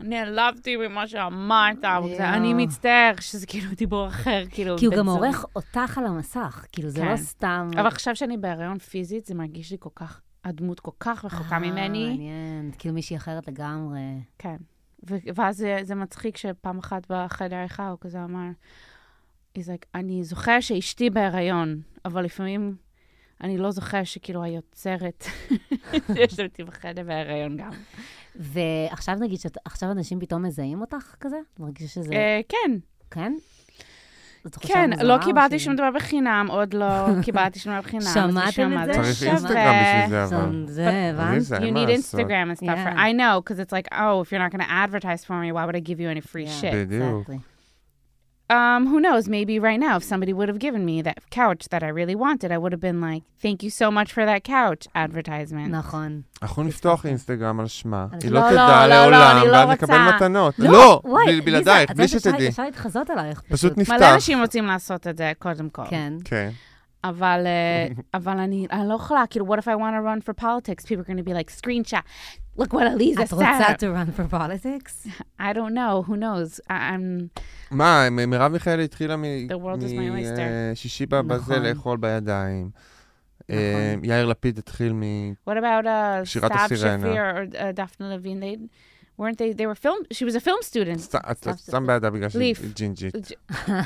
C: נעלבתי ממה שאמרת, הוא כזה,
D: יואו.
C: אני מצטער, שזה כאילו דיבור אחר, כאילו...
D: כי הוא
C: בן
D: גם
C: זוג.
D: עורך אותך על המסך, כאילו זה
C: כן.
D: לא סתם...
C: אבל עכשיו שאני בהריון פיזית, זה מרגיש לי כל כך, הדמות כל כך רחוקה ממני.
D: אה, מעניין, כאילו מישהי אחרת לגמרי.
C: כן. ו- ואז זה, זה מצחיק שפעם אחת בחדר עריכה הוא כזה אמר, he's like, אני זוכר שאשתי בהיריון, אבל לפעמים אני לא זוכר שכאילו היוצרת יש אותי בחדר בהיריון גם.
D: ועכשיו נגיד שעכשיו אנשים פתאום מזהים אותך כזה? את מרגישה שזה...
C: אה, כן,
D: כן? זאת תחושה
C: כן,
D: מוזרה
C: לא
D: או
C: קיבלתי
D: שזה-
C: שום דבר בחינם, עוד לא קיבלתי שום דבר בחינם. אז
D: אה. שמעתם
C: מישהו
D: את
C: אמר,
D: זה?
B: צריך
C: שווה."
B: אינסטגרם בשביל זה, אבל.
D: זה- זה, הבנת?
B: עליזה,
C: You
B: אין מה
C: need
B: לעשות.
C: Instagram and stuff. For,
D: Yeah.
C: I know, because it's like, oh, if you're not going to advertise for me, why would I give you any free
D: Yeah.
C: shit?
B: בדיוק.
D: Exactly.
C: Um, who knows? Maybe right now, if somebody would have given me that couch that I really wanted, I would have been like, thank you so much for that couch advertisement.
D: נכון.
B: אנחנו נפתוח אינסטגרם על שמה.
D: אז
B: היא לא
C: לא,
B: תדע
C: לא, לא,
B: לעולם,
C: אני לא
B: ואז
C: רוצה.
B: נקבל מתנות. לא,
D: וואי,
B: בלי-
D: ליזה,
B: בלעדייך,
D: את
B: בלי
D: יודעת, אפשר-
B: שתדעי.
D: אפשר להתחזות עלייך.
B: פשוט
C: מלא
B: נפתח.
C: אנשים רוצים לעשות את זה, קודם כל.
D: כן.
B: כן.
C: אבל, אה, אבל אני, אני לא יכולה, כאילו, what if I want to run for politics? People are going to be like, screenshot, look what Aliza
D: את רוצה
C: said.
D: to run for politics?
C: I don't know, who knows? I, I'm,
B: מה, מ- מרב מיכאלי התחילה אה,
C: The world is my oyster.
B: משישי בבזה
D: נכון.
B: לאכול בידיים. אה,
D: נכון.
B: יאיר לפיד התחיל מ...
C: what about uh,
B: שירת
C: Stab
B: הסירנה.
C: Shafir or uh, Daphne Levine? They weren't they, they were film, she was a film student.
B: סת- את את שם בידה בגלל שהיא
C: ליף.
B: ג'ינג'ית.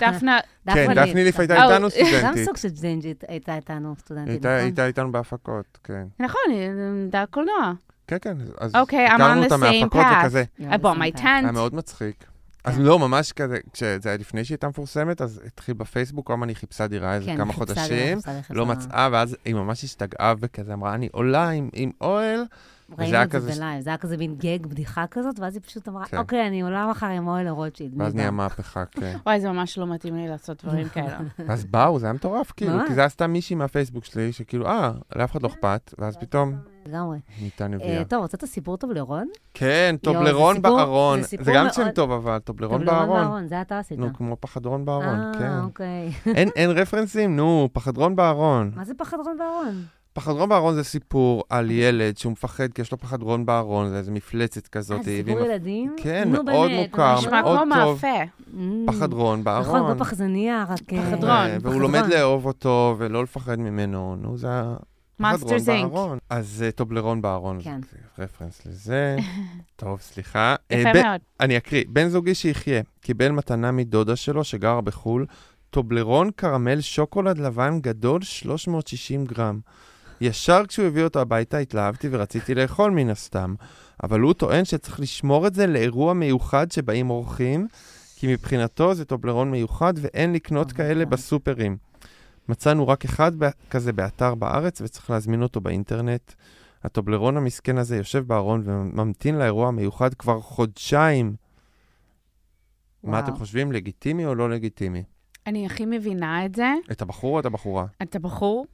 C: דפנה,
B: כן,
D: דפני.
B: דפני ליף הייתה
C: אה,
B: איתנו
D: גם
B: סטודנטית.
D: סוג של ג'ינג'ית הייתה איתנו
B: היא
D: סטודנטית,
B: הייתה-
D: נכון?
B: הייתה איתנו בהפקות, כן.
C: נכון, היא למדה קולנוע.
B: כן, כן, אז
C: אוקיי, I'm
B: הכרנו
C: on the
B: אותה
C: same
B: מההפקות
C: path.
B: וכזה.
C: I bought אה, my
B: היה
C: tent.
B: אה, מאוד מצחיק. אז לא, ממש כזה, כשזה היה לפני שהיא הייתה מפורסמת, אז התחיל בפייסבוק, כמה אני חיפשה דירה איזה
D: כן,
B: כמה
D: חיפשה
B: חודשים,
D: חיפשה חיפשה.
B: לא מצאה, ואז היא ממש השתגעה וכזה אמרה, אני עולה עם- עם אוהל, וזה
D: ראינו
B: היה
D: את זה
B: כזה-
D: בלייב, זה היה כזה מין גג, בדיחה כזאת, ואז היא פשוט אמרה,
B: כן.
D: אוקיי, אני עולה מחר עם אוהל לרוטשילד.
B: ואז
D: מי
B: נהיה
D: בא?"
B: מהפכה, כן.
C: וואי, זה ממש לא מתאים לי לעשות דברים כאלה.
B: ואז באו, זה היה מטורף, כאילו,
D: ממש.
B: כי זה היה סתם מישהי מהפייסבוק שלי, שכאילו, אה, לאף אחד לא אכפת, ואז פתאום
D: לגמרי.
B: נהייתה
D: אוקיי. אה,
B: נביאה.
D: טוב, רצית סיפור טוב לרון?
B: כן,
D: יואו, זה
B: טובלרון
D: סיפור-
B: בארון.
D: זה
B: זה
D: סיפור
B: גם
D: מאוד-
B: שם טוב, אבל טובלרון
D: טוב, לרון
B: בארון.
D: בארון, זה אתה עשית.
B: נו, כמו פחדרון בארון,
D: אה,
B: כן.
D: אוקיי.
B: אין- אין רפרנסים? נו, פחדרון בארון.
D: מה זה פחד רון בארון?
B: פחד רון בארון זה סיפור על ילד שהוא מפחד כי יש לו פחד רון בארון, זה איזה מפלצת כזאת.
D: אה,
B: והיא
D: סיפור
B: מפ-
D: ילדים?
B: כן,
D: נו,
B: מאוד
D: באמת,
B: מוכר,
D: ממש
C: נשמע כמו
B: מאוד טוב.
C: מאפה.
D: מ-
B: פחד רון בארון.
D: נכון, כמו פחזניה, רק... אה,
C: פחד
B: אה,
C: רון,
B: והוא
D: פחד
B: לומד
D: רון.
B: לאהוב אותו ולא לפחד ממנו, נו, זה ה...
C: Monsters,
B: פחד רון
C: Inc.
B: בארון. אז אה, טובלרון בארון,
D: כן.
B: זה רפרנס לזה. טוב, סליחה. אה,
C: יפה
B: ב-
C: מאוד.
B: אני אקריא. בן זוגי שיחיה, קיבל מתנה מדודה שלו שגרה בחו"ל, טובלרון קרמל שוקולד לבן גדול 360 גרם. ישר כשהוא הביא אותו הביתה התלהבתי ורציתי לאכול מן הסתם, אבל הוא טוען שצריך לשמור את זה לאירוע מיוחד שבאים אורחים, כי מבחינתו זה טובלרון מיוחד ואין לקנות
D: Oh my
B: כאלה
D: God.
B: בסופרים. מצאנו רק אחד בא- כזה באתר בארץ וצריך להזמין אותו באינטרנט. הטובלרון המסכן הזה יושב בארון וממתין לאירוע המיוחד כבר חודשיים. מה
D: וואו.
B: אתם חושבים, לגיטימי או לא לגיטימי?
C: אני הכי מבינה את זה.
B: את הבחור או את הבחורה?
C: אתה בחור,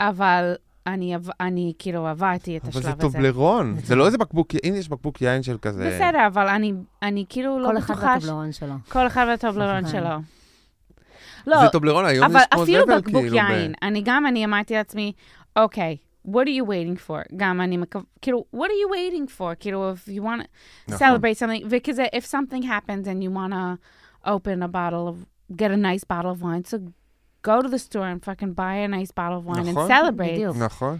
C: אבל אני עב- אני כאילו עברתי את
B: אבל
C: השלב
B: זה
C: הזה.
B: טובלרון, זה לא איזה בקבוק, הנה יש בקבוק יין של כזה.
C: בסדר, אבל אני, אני כאילו לא
D: כל אחד
C: בטוחה... ש-
D: והטבלרון שלו.
C: כל אחד והטובלרון
D: כן.
C: שלו. לא,
B: זה טובלרון, היום
C: אבל
B: יש כמו
C: אפילו
B: זבל
C: בקבוק
B: כאילו. ב-
C: יין. אני גם, אני אמרתי לעצמי, אוקיי, what are you waiting for? גם אני מקו... כאילו, what are you waiting for? כאילו, if you want to
B: נכון.
C: celebrate something, וכזה, if something happens and you want to open a bottle of, get a nice bottle of wine, so go to the store and fucking buy a nice bottle of wine and
B: נכון.
C: celebrate.
D: בדיוק.
B: נכון.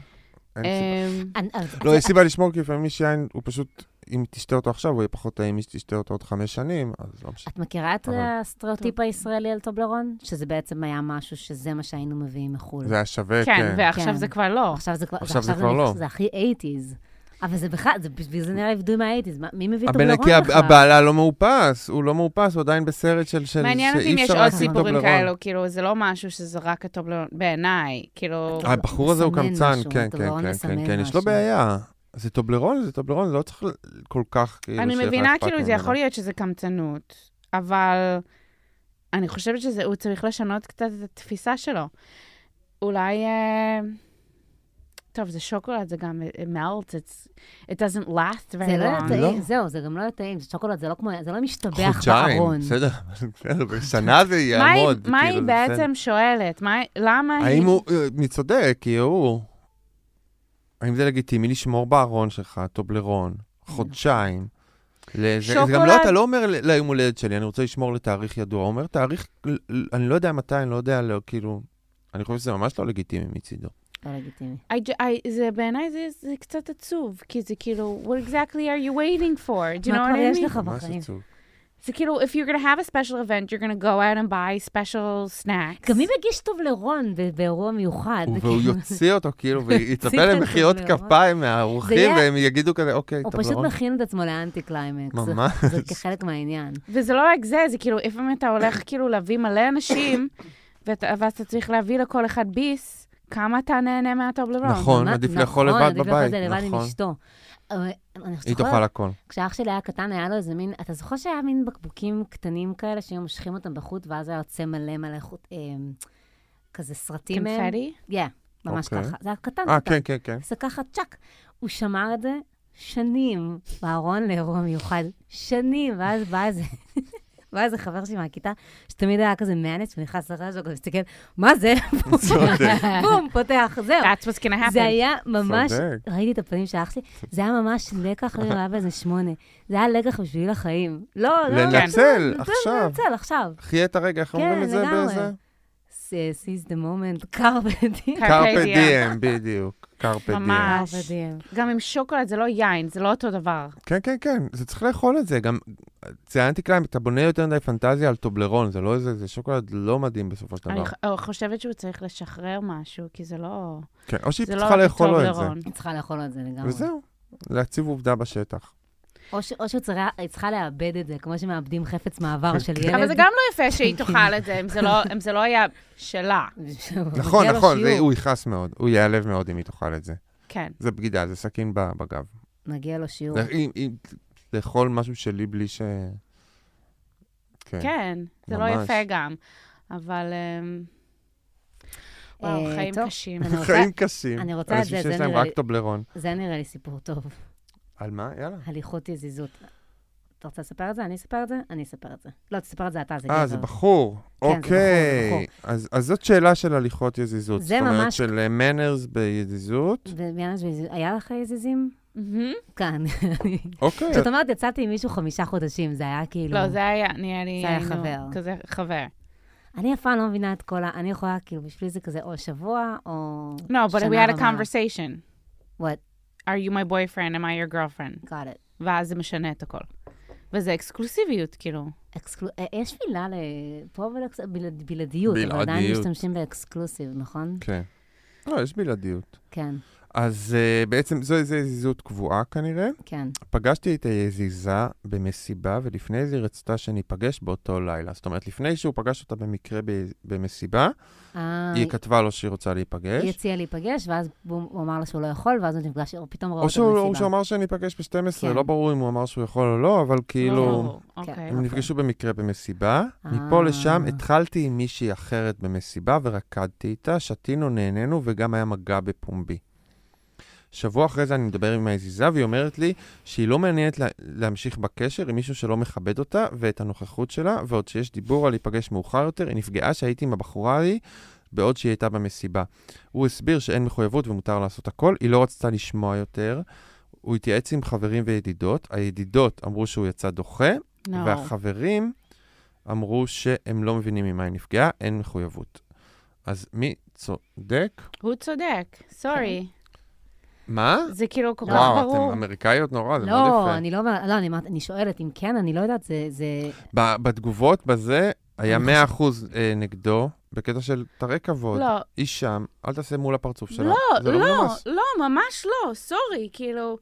B: אין סיבה.
C: אמ,
D: אני- אז-
B: לא, יש סיבה לשמור, כי לפעמים יש יין, הוא פשוט, אם תשתה אותו עכשיו, הוא יהיה פחות טעים משתשתה אותו עוד חמש שנים, אז לא משנה.
D: את מכירה את
B: אבל-
D: הסטריאוטיפ הישראלי על טובלרון? שזה בעצם היה משהו שזה מה שהיינו מביאים מחו"ל.
B: זה היה שווה,
C: כן,
B: כן.
C: ועכשיו
D: כן.
C: זה כבר לא.
D: עכשיו זה כבר,
B: עכשיו זה
D: אני-
B: כבר לא.
D: זה הכי 80's. אבל זה בכלל, זה בשביל זה נראה עבדוי מה-80's. מה- מי מביא
B: הבן
D: טובלרון
B: נקי,
D: בכלל?
B: הבעלה לא מאופס, הוא לא מאופס, הוא עדיין בסרט של של-
C: מעניין אותי אם
B: שאי
C: יש
B: אפשר
C: עוד
B: להשיג
C: סיפורים
B: טובלרון.
C: כאלו, כאילו, זה לא משהו שזה רק הטובלרון, בעיניי,
B: אה,
C: כאילו...
D: טוב,
B: הבחור הזה הוא
D: מסמן
B: קמצן,
D: משהו,
B: כן, כן,
D: טובלרון
B: כן, כן,
D: מסמן
B: כן, יש לו
D: משהו.
B: בעיה. זה טובלרון, זה טובלרון, זה לא צריך ל- כל כך, כאילו,
C: אני
B: שיהיה לך
C: מבינה,
B: אכפת
C: כאילו, זה
B: ממנו.
C: יכול להיות שזה קמצנות, אבל אני חושבת שזה, הוא צריך לשנות קצת את התפיסה שלו. אולי... אה, טוב, זה שוקולד, זה גם it melts, it's- it doesn't last
D: זה
C: very
D: לא היה
C: long.
D: טעים,
B: לא.
D: זהו, זה גם לא היה טעים. זה שוקולד, זה לא כמו, זה לא משתבח
B: חודשיים,
D: בארון.
B: בסדר, בסדר, בשנה זה
C: מה היא-
B: יעמוד.
C: מה
B: כאילו,
C: היא
B: זה
C: בעצם שואלת? מה- למה
B: בסדר.
C: היא...
B: האם הוא, אה, מי צודק, כי הוא... האם זה לגיטימי לשמור בארון שלך טובלרון חודשיים? ל- זה זה גם
C: שוקולד.
B: לא, אתה לא אומר ל- ליום הולדת שלי, אני רוצה לשמור לתאריך ידוע. הוא אומר, תאריך, ל- ל- אני לא יודע מתי, אני לא יודע, לא, כאילו... אני חושב שזה ממש לא לגיטימי מצידו.
D: לא לגיטימי.
C: I ju- I- זה בעיניי זה, זה קצת עצוב, כי זה כאילו, what exactly are you waiting for? Do you know
D: מה
C: what
D: כבר יש
C: I mean?
D: לך
B: ממש
D: בחיים?
B: עצוב.
C: זה כאילו, if you're gonna have a special event, you're gonna go out and buy special snacks.
D: גם מי מגיש טובלרון ב- באירוע מיוחד? זה
B: והוא
D: כאילו-
B: יוציא אותו, כאילו,
D: יוציא
B: ויצפה
D: את
B: למחיאות
D: הטובלרון.
B: כפיים
D: זה
B: מהאורחים,
D: יהיה-
B: והם יגידו כזה, אוקיי,
D: הוא פשוט
B: טובלרון.
D: מכין את עצמו לאנטי קליימקס. זה-
B: ממש.
D: זה כחלק מהעניין.
C: וזה לא רק זה, זה כאילו, לפעמים אתה הולך כאילו להביא מלא אנשים, ואתה, ואז אתה צריך להביא לכל אחד ביס, כמה אתה נהנה מהטובלרון.
B: נכון,
D: ממש-
B: עדיף לאכול
D: נכון,
B: לבד
D: עדיף לאכול את זה
B: בבית,
D: לבד עם
B: נכון.
D: אשתו. אבל אני
B: היא
D: זוכרת-
B: תאכל הכל.
D: כשאח שלי היה קטן, היה לו איזה מין, אתה זוכר שהיה מין בקבוקים קטנים כאלה, שהיו מושכים אותם בחוט, ואז היה יוצא מלא מלא חוט, אה, כזה סרטים. מהם?
C: קונפטי?
D: כן, ממש
B: אוקיי.
D: ככה. זה היה קטן
B: אה,
D: קטן.
B: כן, כן, כן.
D: זה ככה צ'אק. הוא שמר את זה שנים בארון לאירוע מיוחד. שנים, ואז בא איזה... בא איזה חבר שלי מהכיתה, שתמיד היה כזה מאנץ, ונכנס לחדר שלו, כזה מסתכל, מה זה? בום, פותח, זהו.
C: That's what's gonna happen.
D: זה היה ממש,
B: צודק.
D: ראיתי את הפנים של אח שלי, זה היה ממש לקח, אני היה באיזה שמונה. זה היה לקח בשביל החיים. לא, לא.
B: לנצל,
D: זה-
B: עכשיו.
D: לנצל, עכשיו.
B: חיה את הרגע, איך
D: כן,
B: אומרים את זה
D: לגמרי.
B: באיזה?
D: S- Seize the moment, קרפדין.
C: Carpe
B: קרפה
C: diem.
B: דיאם, בדיוק. קרפה דיאם.
C: ממש. גם עם שוקולד זה לא יין, זה לא אותו דבר.
B: כן, כן, כן, זה צריך לאכול את זה. גם ציינתי קליים, אתה בונה יותר מדי פנטזיה על טובלרון, זה לא איזה, זה שוקולד לא מדהים בסופו של
C: אני
B: דבר.
C: ח- חושבת שהוא צריך לשחרר משהו, כי זה לא...
B: כן, או שהיא
C: זה לא
B: צריכה
C: רק
B: לאכול לו את זה.
C: טובלרון.
D: היא צריכה לאכול את זה לגמרי.
B: וזהו, להציב עובדה בשטח.
D: או ש- או שהיא צריכה לאבד את זה, כמו שמאבדים חפץ
B: כן.
D: מעבר של ילד.
C: אבל זה גם לא יפה שהיא תאכל את זה, אם זה לא- אם זה לא היה שלה.
B: נכון,
D: מגיע לו
B: נכון, זה-
D: שיעור.
B: הוא יכעס מאוד, הוא ייעלב מאוד אם היא תאכל את זה.
C: כן.
B: זה בגידה, זה סכין ב- בגב.
D: מגיע לו שיעור.
B: זה- אם- אם- לאכול משהו שלי בלי ש... כן.
C: כן, זה לא
B: ממש.
C: יפה גם. אבל... אמ, וואו,
D: אה,
C: חיים
D: טוב,
C: קשים.
D: אני רוצה-
B: חיים קשים.
D: אני רוצה את
B: אנשים
D: זה, זה
B: שיש להם
D: נראה
B: רק
D: לי-
B: טובלרון.
D: זה נראה לי סיפור טוב.
B: על מה? יאללה.
D: הליכות יזיזות. אתה רוצה לספר את זה? אני אספר את זה? אני אספר את זה. לא, תספר את זה אתה, זה גבר.
B: אה, זה בחור.
D: כן, זה בחור,
B: אוקיי.
D: זה
B: אז אז זאת שאלה של הליכות יזיזות.
D: זה
B: זאת אומרת
D: ממש-
B: של מנרס ביזיזות.
D: ובעניין הזה, היה לך יזיזים? כן.
C: מהמם.
D: כאן.
B: אוקיי.
D: Mm. זאת אומרת, יצאתי עם מישהו חמישה חודשים, זה היה כאילו...
C: לא, זה היה, נראה לי,
D: זה היה
C: היינו
D: חבר.
C: כזה חבר.
D: אני אף פעם לא מבינה את כל ה... אני יכולה, כאילו, בשבילי זה כזה או שבוע, או
C: No, לא, but we had a
D: ומעלה.
C: conversation.
D: What?
C: are you my boyfriend? am I your girlfriend?
D: got it.
C: ואז זה משנה את הכל. וזה אקסקלוסיביות, כאילו.
D: אקסקלו... אה, יש מילה ל... פה אבל אקס- בלעד- בלעדיות, אבל עדיין
B: בלעדיות.
D: משתמשים באקסקלוסיב, נכון?
B: כן. לא, יש בלעדיות.
D: כן,
B: אז אה, בעצם זו איזו יזיזות קבועה כנראה.
D: כן.
B: פגשתי את היזיזה במסיבה, ולפני זה היא רצתה שניפגש באותו לילה. זאת אומרת, לפני שהוא פגש אותה במקרה ב- במסיבה,
D: אה,
B: היא כתבה לו שהיא רוצה
D: היא
B: להיפגש.
D: הציעה להיפגש, ואז בום, הוא אמר לה שהוא לא יכול, ואז הוא נפגש, הוא פתאום רואה
B: או
D: אותו
B: שהוא או שהוא
D: במסיבה.
B: אמר שניפגש ב-12,
D: כן.
B: לא ברור אם הוא אמר שהוא יכול או לא, אבל כאילו,
C: לא, אוקיי.
B: הם נפגשו במקרה במסיבה.
D: אה.
B: מפה לשם התחלתי עם מישהי אחרת במסיבה ורקדתי איתה, שתינו, נהנינו, וגם היה מגע בפומבי. שבוע אחרי זה אני מדבר עם היזיזה, והיא אומרת לי שהיא לא מעוניינת לה, להמשיך בקשר עם מישהו שלא מכבד אותה ואת הנוכחות שלה, ועוד שיש דיבור על להיפגש מאוחר יותר, היא נפגעה שהייתי עם הבחורה ההיא בעוד שהיא הייתה במסיבה. הוא הסביר שאין מחויבות ומותר לעשות הכל, היא לא רצתה לשמוע יותר. הוא התייעץ עם חברים וידידות, הידידות אמרו שהוא יצא דוחה,
C: No.
B: והחברים אמרו שהם לא מבינים ממה היא נפגעה, אין מחויבות. אז מי צודק?
C: הוא צודק, סורי.
B: מה?
C: זה כאילו כל כך
B: וואו,
C: ברור.
B: אתן אמריקאיות נורא, זה מאוד
D: לא,
B: יפה.
D: אני לא אומרת, לא, אני אמרת, אני שואלת אם כן, אני לא יודעת, זה... זה-
B: ב- בתגובות, בזה, היה
D: אני
B: 100% אה, נגדו, בקטע של תראה כבוד.
C: לא,
B: היא שם, אל תעשה מול הפרצוף שלה. זה
C: לא, לא,
B: מנומס.
C: לא, ממש לא, סורי, כאילו...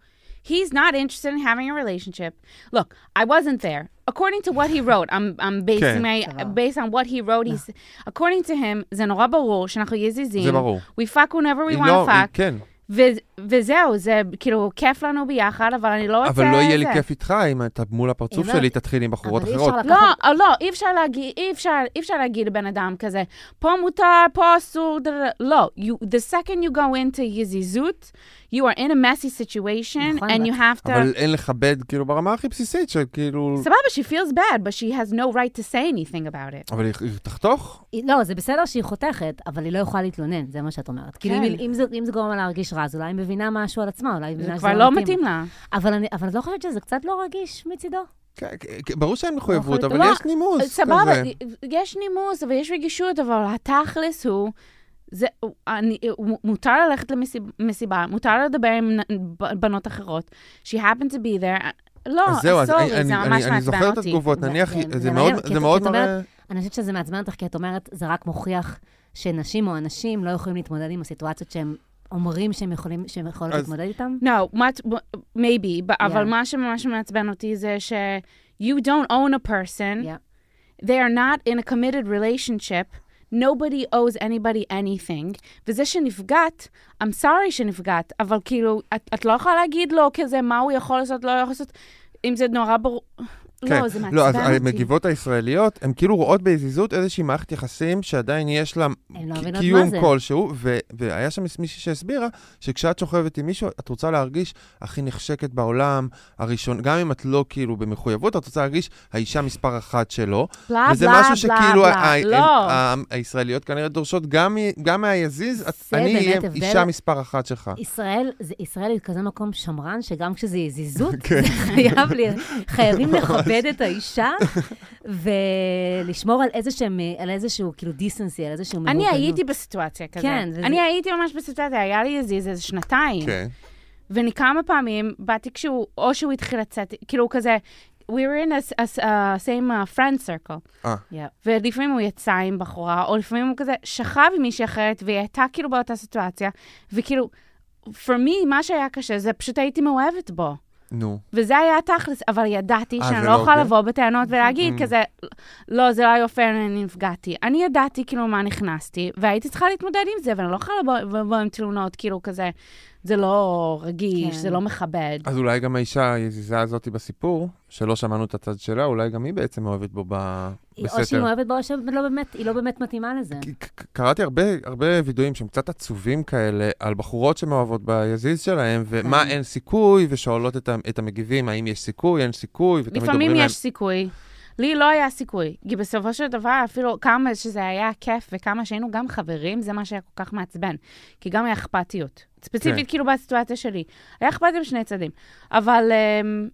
C: He's not interested in having a relationship. Look, I wasn't there. According to what he wrote, I'm, I'm basing
B: כן.
C: my,
D: סבבה.
C: based on what he wrote, he's, according to him, זה נורא ברור שאנחנו יזיזים.
B: זה ברור.
C: We fuck whenever we
B: היא
C: want
B: לא,
C: to
B: היא-
C: fuck.
B: כן,
C: ו- וזהו, זה כאילו, כיף לנו ביחד, אבל אני לא רוצה...
B: אבל לא יהיה לי
C: זה.
B: כיף איתך אם אתה מול הפרצוף
D: הבנתי.
B: שלי, תתחיל עם בחורות
D: אבל אי
B: אחרות.
D: אפשר
C: לא,
D: לקחת...
C: אה, לא, אי אפשר להגיד, אי אפשר, אי אפשר להגיד לבן אדם כזה, פה מותר, פה אסור, דה, דה, דה." לא. You, the second you go into יזיזות, you are in a messy situation,
D: נכון,
C: and you have to...
B: אבל אין לכבד, כאילו, ברמה הכי בסיסית, של כאילו...
C: סבבה, she feels bad, but she has no right to say anything about it.
B: אבל היא היא תחתוך.
D: היא- לא, זה בסדר שהיא חותכת, אבל היא לא יכולה להתלונן, זה מה שאת אומרת. כאילו, אם-
C: כן.
D: אם זה- אם זה גורם לה להרגיש רע, אז אולי היא מבינה משהו על עצמה, אולי היא
C: זה
D: מבינה שזה
C: כבר לא מתאים לה.
D: אבל אני- אבל את לא חושבת שזה קצת לא רגיש מצידו?
B: כן, כן, כן, ברור שאין מחויבות, אבל
C: לא,
B: יש נימוס כזה.
C: סבבה, אה, יש נימוס ויש רגישות, אבל התכלס הוא, זה, הוא- אני, הוא- מותר ללכת למסיבה, מותר לדבר עם נ- בנות אחרות, she happened to be there. לא,
B: אז זהו, אז
C: סורי,
B: אני-
C: זה
B: אני-
C: ממש
B: אני
C: מעצבן
B: זוכר את
C: אותי.
B: התגובות,
D: זה-
B: נניח,
D: זה-
B: זה
D: זה
B: מאוד-
D: מעניין, כי-
B: זה מאוד אה,
D: כי את
B: מראה...
D: אני חושבת שזה מעצבן אותך, כי את אומרת, זה רק מוכיח שנשים או אנשים לא יכולים להתמודד עם הסיטואציות שהם אומרים שהם יכולים, שהם יכולות
B: אז-
D: להתמודד איתם.
C: No, what, maybe, but,
D: Yeah.
C: אבל מה שממש מעצבן אותי זה ש... You don't own a person.
D: Yeah.
C: They are not in a committed relationship. Nobody owes anybody anything. וזה שנפגעת, I'm sorry שנפגעת, אבל כאילו, את, את לא יכולה להגיד לו כזה, מה הוא יכול לעשות, לא יכול לעשות, אם זה נורא ברור.
B: כן.
C: לא, זה מעצבן
B: לא, אז
C: אותי.
B: המגיבות הישראליות, הן כאילו רואות ביזיזות איזושהי מערכת יחסים שעדיין יש לה
D: הן לא
B: כי-
D: מבינות מה
B: קיום
D: זה.
B: כלשהו, ו- והיה שם מישהי שהסבירה שכשאת שוכבת עם מישהו, את רוצה להרגיש הכי נחשקת בעולם, הראשון, גם אם את לא כאילו במחויבות, את רוצה להרגיש האישה מספר אחת שלו,
C: בלה,
B: וזה
C: אה, בלה,
B: משהו
C: בלה,
B: שכאילו
C: בלה.
B: ה- ה-
C: לא.
B: ה- ה- הישראליות כנראה דורשות גם מ- גם מהיזיז, את-
D: זה
B: אני
D: באמת
B: אהיה
D: הבדל-
B: אישה מספר אחת שלך.
D: ישראל, זה, ישראל היא כזה מקום שמרן, שגם כשזה יזיזות,
B: כן.
D: זה חייב ל... חייבים לכבד את האישה ולשמור על, איזשהם, על איזשהו כאילו דיסנסי, על איזשהו
C: אני
D: מבוגנות.
C: הייתי בסיטואציה כזה.
D: כן, וזה-
C: אני הייתי ממש בסיטואציה, היה לי איזה איזה שנתיים.
B: כן.
C: ואני כמה פעמים באתי כשהוא, או שהוא התחיל לצאת, כאילו הוא כזה, we were in a, a, a same uh, friend circle.
B: אה.
D: Yeah.
C: ולפעמים הוא יצא עם בחורה, או לפעמים הוא כזה שכב עם מישהי אחרת, והיא הייתה כאילו באותה סיטואציה, וכאילו, for me, מה שהיה קשה זה פשוט הייתי מאוהבת בו.
B: נו.
C: וזה היה תכלס, אבל ידעתי
B: אה,
C: שאני
B: זה
C: לא
B: לא
C: יכולה
B: הוגן?
C: לבוא בטענות ולהגיד
B: Mm.
C: כזה, לא, זה לא היה יפה, אני נפגעתי. אני ידעתי כאילו מה נכנסתי, והייתי צריכה להתמודד עם זה, ואני לא יכולה לבוא- לבוא עם תלונות, כאילו כזה, זה לא רגיש,
D: כן.
C: זה לא מכבד.
B: אז אולי גם האישה היזיזה הזאת בסיפור, שלא שמענו את הצד שלה, אולי גם היא בעצם אוהבת בו ב...
D: היא- או שהיא
B: בסתר.
D: מאוהבת בו, או שלא באמת, היא לא באמת מתאימה לזה.
B: כי- ק- קראתי הרבה, הרבה וידואים שהם קצת עצובים כאלה, על בחורות שמאוהבות ביזיז שלהם, ומה
D: כן.
B: אין סיכוי, ושואלות את, ה- את המגיבים, האם יש סיכוי, אין סיכוי, ותמיד
C: לפעמים
B: אומרים להם...
C: יש סיכוי. לי לא היה סיכוי, כי בסופו של דבר, אפילו כמה שזה היה כיף וכמה שהיינו גם חברים, זה מה שהיה כל כך מעצבן. כי גם היה אכפתיות. ספציפית,
B: כן.
C: כאילו, בסיטואציה שלי. היה אכפתיות בשני צדדים. אבל אמ,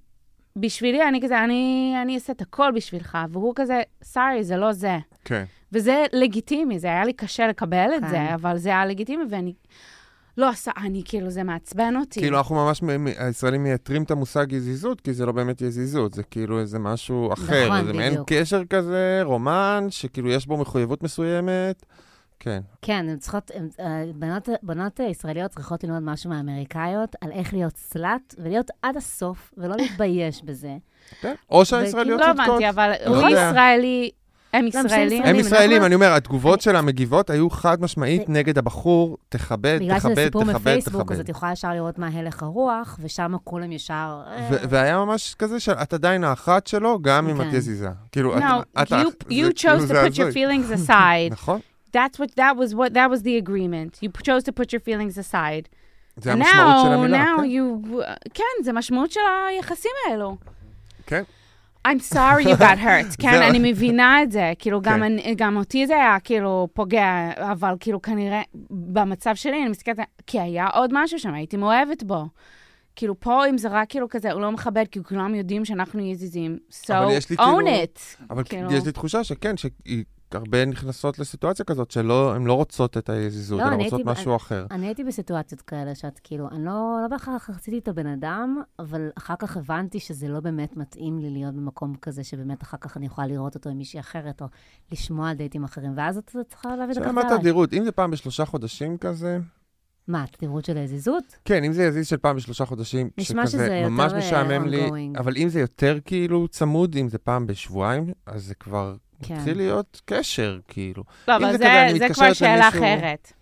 C: בשבילי, אני כזה, אני, אני אעשה את הכל בשבילך, והוא כזה, סארי, זה לא זה.
B: כן.
C: וזה לגיטימי, זה היה לי קשה לקבל את
D: כן.
C: זה, אבל זה היה לגיטימי, ואני לא עשה, אני, כאילו, זה מעצבן אותי. לא
B: כאילו, אנחנו ממש, מ- מ- הישראלים מייתרים את המושג יזיזות, כי זה לא באמת יזיזות, זה כאילו איזה משהו אחר.
D: נכון,
B: זה מעין
D: בדיוק.
B: קשר כזה, רומן, שכאילו יש בו מחויבות מסוימת. כן,
D: כן, הן צריכות, הן- אה, בנות- בנות אה, ישראליות צריכות ללמוד משהו מהאמריקאיות, על איך להיות סלאט, ולהיות עד הסוף, ולא להתבייש בזה.
B: כן. או שהישראליות
C: לא
B: צודקות.
C: הבנתי, אבל הוא
B: יודע.
C: ישראלי, לא, הם
D: שהם
C: ישראלים.
B: הם
D: אני
B: ישראלים,
D: מנסה-
B: אני אומר, התגובות של המגיבות היו חד משמעית
D: זה-
B: נגד הבחור, תכבד,
D: בגלל שזה
B: תכבד,
D: סיפור
B: תכבד,
D: מפייסבוק, אז
B: תכבד.
D: את יכולה ישר לראות מה הלך הרוח, ושם כולם ישר... אה,
B: ו- והיה ממש כזה של, את עדיין האחת שלו, גם אם את
D: כן.
B: יזיזה. כאילו, את...
C: No,
B: את האח-
C: you,
B: זה
C: you
B: כאילו,
C: chose to
B: זה
C: put your
B: הזוי.
C: feelings aside.
B: נכון,
C: That's what that was what that was the agreement. You chose to put your feelings aside.
B: זה
C: And
B: המשמעות של
C: now-
B: המילה.
C: now
B: כן,
C: you כן, זה משמעות של היחסים האלו.
B: כן.
C: I'm sorry you got hurt, כן?
B: זהו.
C: אני מבינה את זה. כאילו, גם
B: כן.
C: אני- גם אותי זה היה כאילו פוגע, אבל כאילו כנראה במצב שלי, אני מסתכלת, כי היה עוד משהו שם, הייתי מאוהבת בו. כאילו, פה אם זה רק כאילו כזה, הוא לא מכבד, כי כולם יודעים שאנחנו יזיזים. So,
B: אבל יש לי
C: own
B: כאילו-
C: it.
B: אבל
D: כן,
C: כאילו-
B: יש לי תחושה שכן, שהרבה נכנסות לסיטואציה כזאת, שהן לא רוצות את היזיזות,
D: לא,
B: הן
D: אני
B: רוצות
D: הייתי ב-
B: משהו אחר.
D: אני הייתי בסיטואציות כאלה שאת כאילו, אני לא, לא בהכרח רציתי את הבן אדם, אבל אחר כך הבנתי שזה לא באמת מתאים לי להיות במקום כזה, שבאמת אחר כך אני יכולה לראות אותו עם מישהי אחרת, או לשמוע על דייטים אחרים, ואז את צריכה להביא את
B: שאלה מה
D: הכרטיס עליי.
B: תדירות, אם זה פעם בשלושה חודשים כזה,
D: מה, התדירות של היזיזות?
B: כן, אם זה יזיז של פעם בשלושה חודשים,
D: נשמע
B: שכזה
D: שזה יותר,
B: ממש
D: אה,
B: משעמם לי,
D: ongoing.
B: אבל אם זה יותר כאילו צמוד, אם זה פעם בשבועיים, אז זה כבר
D: כן.
B: מתחיל להיות קשר, כאילו.
C: לא,
B: אם
C: אבל
B: זה
C: זה,
B: כזה, אני
C: זה כבר
B: מתקשרת
C: שאלה
B: למישהו-
C: אחרת.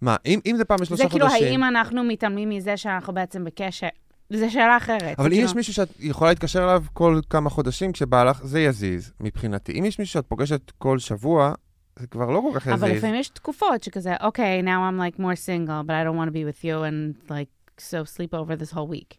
B: מה, אם, אם זה פעם
C: זה
B: בשלושה
C: כאילו,
B: חודשים...
C: האם אנחנו מתעלמים מזה שאנחנו בעצם בקשר? זו שאלה אחרת.
B: אבל
C: זה
B: אם
C: כאילו-
B: יש מישהו שאת יכולה להתקשר אליו כל כמה חודשים כשבא לך, זה יזיז, מבחינתי. אם יש מישהו שאת פוגשת כל שבוע, זה כבר לא כל כך יזיז.
C: אבל לפעמים יש תקופות שכזה, אוקיי, okay, now I'm like more single, but I don't want to be with you and like, so sleep over this whole week.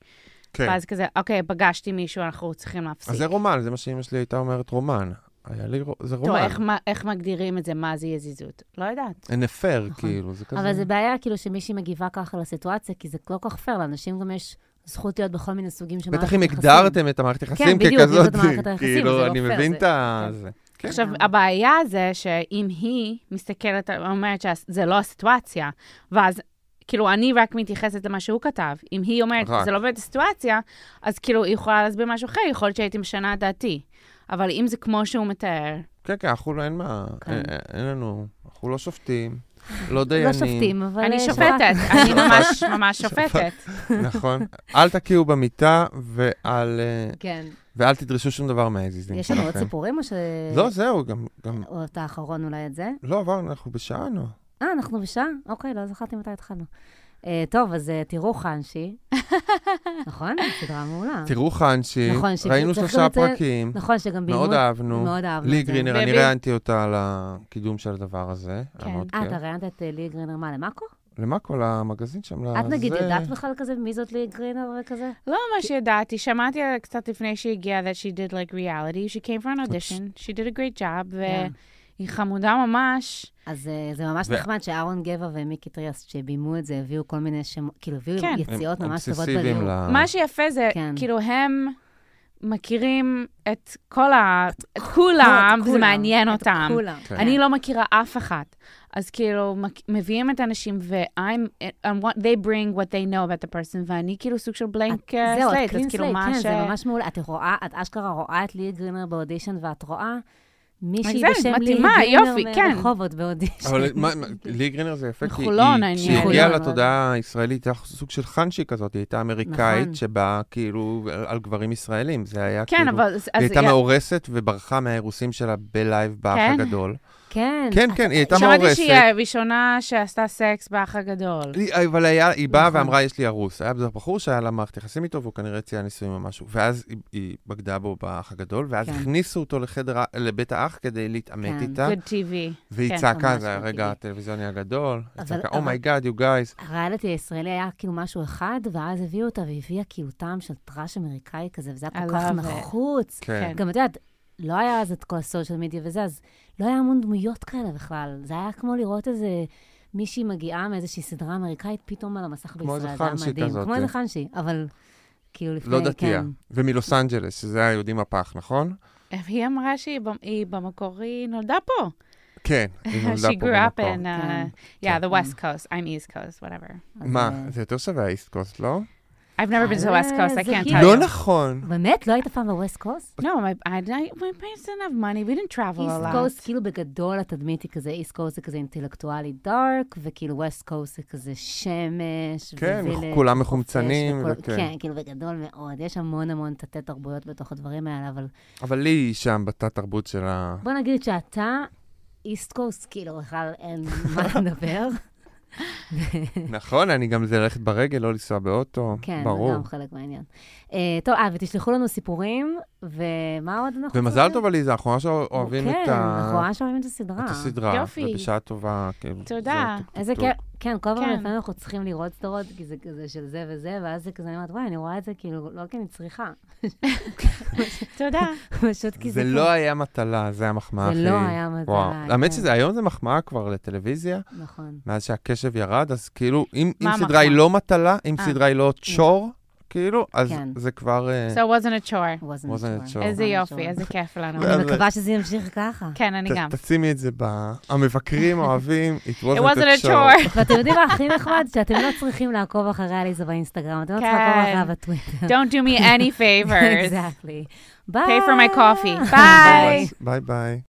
B: כן.
C: ואז כזה, אוקיי, פגשתי מישהו, אנחנו צריכים להפסיק.
B: אז זה רומן, זה מה שאימא שלי הייתה אומרת, רומן. היה לי, רו- זה
C: טוב,
B: רומן.
C: איך, מה- איך מגדירים את זה, מה זה יזיזות? לא יודעת.
B: אין הפר,
D: נכון.
B: כאילו, זה כזה...
D: אבל זה בעיה, כאילו, שמישהי מגיבה ככה לסיטואציה, כי זה לא כל כך פייר, לאנשים גם יש זכות להיות בכל מיני סוגים של
B: בטח
D: מערכת
B: אם
D: יחסים.
B: הגדרתם את המערכת יחסים
D: כן, בדיוק, אם זאת
B: ככזאת,
D: מערכת היחסים, זה
B: כאילו,
D: לא
B: אני
D: פייר,
B: מבין
D: זה-
B: את ה... זה. כן.
C: עכשיו,
D: לגמרי.
C: הבעיה זה שאם היא מסתכלת, אומרת שזה לא הסיטואציה, ואז כאילו אני רק מתייחסת למה שהוא כתב. אם היא אומרת,
B: רק.
C: זה לא באמת הסיטואציה, אז כאילו היא יכולה להסביר משהו אחר, יכול להיות שהייתי משנה את דעתי. אבל אם זה כמו שהוא מתאר,
B: כן, כן, אנחנו לא, אין מה,
D: כן.
B: אין- אין לנו, אנחנו לא שופטים, לא דיינים.
D: לא שופטים, אבל...
C: אני
D: אה,
C: שופטת, אני ממש ממש שופטת.
B: נכון. אל תקיאו במיטה ואל, אה,
D: כן.
B: ואל תדרשו שום דבר מהאזיזים
D: יש לנו עוד
B: שלכם.
D: סיפורים, או ש...
B: לא, זהו, גם... גם-
D: או את האחרון אולי את זה?
B: לא, עברנו, אנחנו בשעה, נו.
D: אה, אנחנו בשעה? אוקיי, לא זכרתי מתי התחלנו. אה, טוב, אז אה, תראו חנשי. נכון? סדרה מעולה.
B: תראו חנשי,
D: נכון, שצריך
B: ראינו שלושה
D: לציין-
B: פרקים,
D: נכון, שגם ביימו...
B: מאוד אהבנו.
D: מאוד אהבנו
B: לי
D: את זה.
B: גרינר, אני
C: בבי-
B: ראיינתי אותה על הקידום של הדבר הזה. היה מאוד
D: אה,
B: כיף.
D: אתה ראיינת את אה, לי גרינר מה, למאקו?
B: למה כל המגזין שם?
D: את נגיד
B: לזה?
D: יודעת בכלל כזה מי זאת לי גרינר וכזה?
C: לא ממש ידעתי, שמעתי עליה קצת לפני שהיא הגיעה, that she did like reality, she came for an audition, she did a great job,
D: כן.
C: והיא חמודה ממש.
D: אז אה, זה ממש
B: ו-
D: נחמד שאהרון גבע ומיקי טריאס, שביימו את זה, הביאו כל מיני שמות, כאילו הביאו
C: כן.
B: הם
D: יציאות ממש טובות
B: אובססיביים
D: בליום.
B: ל-
C: מה שיפה זה,
D: כן.
C: כאילו, הם מכירים את כל ה... את כולם, וזה מעניין אותם.
D: כולם.
B: כן.
C: אני לא מכירה אף אחת. אז כאילו, מק- מביאים את האנשים, ו-I'm, I'm what they bring what they know about the person, ואני כאילו סוג של בלנק
D: את- זהו, את
C: סלייט, אז
D: קלין
C: כאילו,
D: סלייט,
C: מה
D: כן,
C: ש...
D: זה ממש מעולה. את רואה, את אשכרה רואה את ליהי גרינר באודישן, ואת רואה מישהי
C: מגזמת,
D: בשם ליהי
C: מתאימה, יופי,
D: גרינר
C: כן.
D: מרחובות באודישן. כן.
B: אבל מה- מה- לי גרינר זה יפה, כי היא-
C: מחולון, העניין.
B: כשהיא הגיעה
D: מחולון,
B: לתודעה הישראלית, הייתה סוג של חנשי כזאת, היא הייתה
D: נכון.
B: אמריקאית שבאה כאילו על גברים ישראלים, זה היה
C: כן,
B: כאילו...
C: אבל... אז-
B: היא
C: אז-
B: הייתה מאורסת וברחה מהאירוסים שלה בלייב באח
C: כן.
B: הגדול.
D: כן.
B: כן, כן, היא הייתה
C: שמעתי
B: מאורסת.
C: שהיא הראשונה שעשתה סקס באח הגדול.
B: אה, היא- אבל היה, היא באה
D: נכון.
B: ואמרה, יש לי ארוס. היה בחור שהיה לה מערכת יחסים איתו, והוא כנראה הציע נישואים או משהו. ואז היא- היא בגדה בו באח הגדול, ואז
D: כן.
B: הכניסו אותו לחדר, ה- לבית האח כדי להתעמת
D: כן.
B: איתה,
C: Good TV.
B: והיא
C: כן,
B: צעקה,
D: ממש
B: זה היה
D: good
B: רגע
D: TV.
B: הטלוויזיוני הגדול. היא
D: אבל-
B: צעקה,
D: אבל-
B: אומייגאד, you guys.
D: הריאליטי הישראלי היה כאילו משהו אחד, ואז הביאו אותה והביאה כאילו טעם של טראש אמריקאי כזה, וזה היה כל
C: I
D: כך
C: love it.
D: נחוץ.
B: כן.
C: כן.
D: גם את יודעת, לא היה אז את כל הסושיאל מדיה וזה, אז לא היה המון דמויות כאלה בכלל. זה היה כמו לראות איזה מישהי מגיעה מאיזושהי סדרה אמריקאית, פתאום על המסך
B: כמו
D: בישראל.
B: איזה
D: זה היה
B: חנשי
D: מדהים.
B: כזאת. כן.
D: כמו איזה חנשי, אבל כאילו לפני,
B: לא דתייה.
D: כן.
B: ומלוס אנג'לס, שזה היהודים הפח, נכון?
C: היא אמרה שהיא במ- היא במקור, היא נולדה פה.
B: כן, היא נולדה
C: She
B: פה
C: grew up
B: במקור.
C: in, uh,
D: כן.
C: yeah, the West Coast. I'm East Coast, whatever.
D: אז,
B: מה,
D: אה,
B: זה יותר שווה האיסט קוסט, לא?
C: I've never been to the West Coast. I
D: זה
C: can't
D: כאילו-
C: tell
B: לא
C: you.
B: נכון.
D: באמת? לא היית פעם בווסט קוסט?
C: No, my, I, I, my parents didn't have money. We didn't travel a
D: איסט
C: lot.
D: קוסט, כאילו בגדול התדמית היא כזה, איסט קוסט זה כזה אינטלקטואלי דארק, וכאילו ווסט קוסט זה כזה שמש.
B: כן,
D: ווילג'
B: כולם
D: וחופש
B: מחומצנים,
D: וכל-
B: וכן.
D: כן, כאילו בגדול מאוד. יש המון המון תתי תרבויות בתוך הדברים האלה, אבל
B: אבל לי היא שם, בתת-תרבות של ה...
D: בוא נגיד שאתה איסט קוסט, כאילו בכלל אין מה לדבר.
B: נכון, אני גם זה ללכת ברגל, לא לנסוע באוטו,
D: כן,
B: ברור.
D: זה גם חלק מהעניין. אה, טוב, אה, ותשלחו לנו סיפורים, ומה עוד אנחנו
B: ומזל
D: צריכים?
B: טוב, עליזה, אנחנו ממש אוהבים
D: כן,
B: את
D: אנחנו
B: ה-
D: ממש אוהבים את הסדרה.
B: את הסדרה.
C: יופי.
B: ובשעה טובה, כאילו.
C: תודה.
B: זה טוב,
D: איזה
B: טוב.
D: כיף, כן, כל פעם
C: כן.
D: לפעמים אנחנו צריכים לראות סדרות, כי זה כזה של זה וזה, ואז זה כזה, אני אומרת, וואי, אני רואה את זה כאילו, לא כי אני צריכה,
C: תודה.
D: פשוט כי זה...
B: זה לא היה מטלה, זה היה מחמאה
D: זה
B: הכי...
D: לא היה מזל.
B: וואו. האמת שזה, היום זה מחמאה כבר לטלוויזיה,
D: נכון.
B: מאז שהקשב ירד, אז כאילו, אם אם
C: מה
B: סדרה היא
C: המחמאה?
B: לא מטלה, אם
C: אה.
B: סדרה היא לא צ'ור, כאילו, אז
D: כן.
B: זה כבר... אה,
C: So it wasn't a chore.
D: wasn't
B: wasn't
D: sure.
B: sure.
C: איזה
D: wasn't
C: יופי,
D: sure.
C: איזה כיף לנו.
B: זה-
D: אני מקווה שזה ימשיך ככה.
C: כן, אני
B: ת-
C: גם.
B: תשימי את זה ב... המבקרים אוהבים, it
C: It
B: wasn't
C: wasn't a
B: a chore.
C: chore.
D: ואתם יודעים מה הכי נחמד? שאתם לא צריכים לעקוב אחרי עליזה באינסטגרם, אתם לא צריכים
C: כן.
D: לעקוב אחריה בטוויטר.
C: Don't do me any favors.
D: Exactly. ביי.
C: Pay for my coffee. Bye.
B: ביי ביי.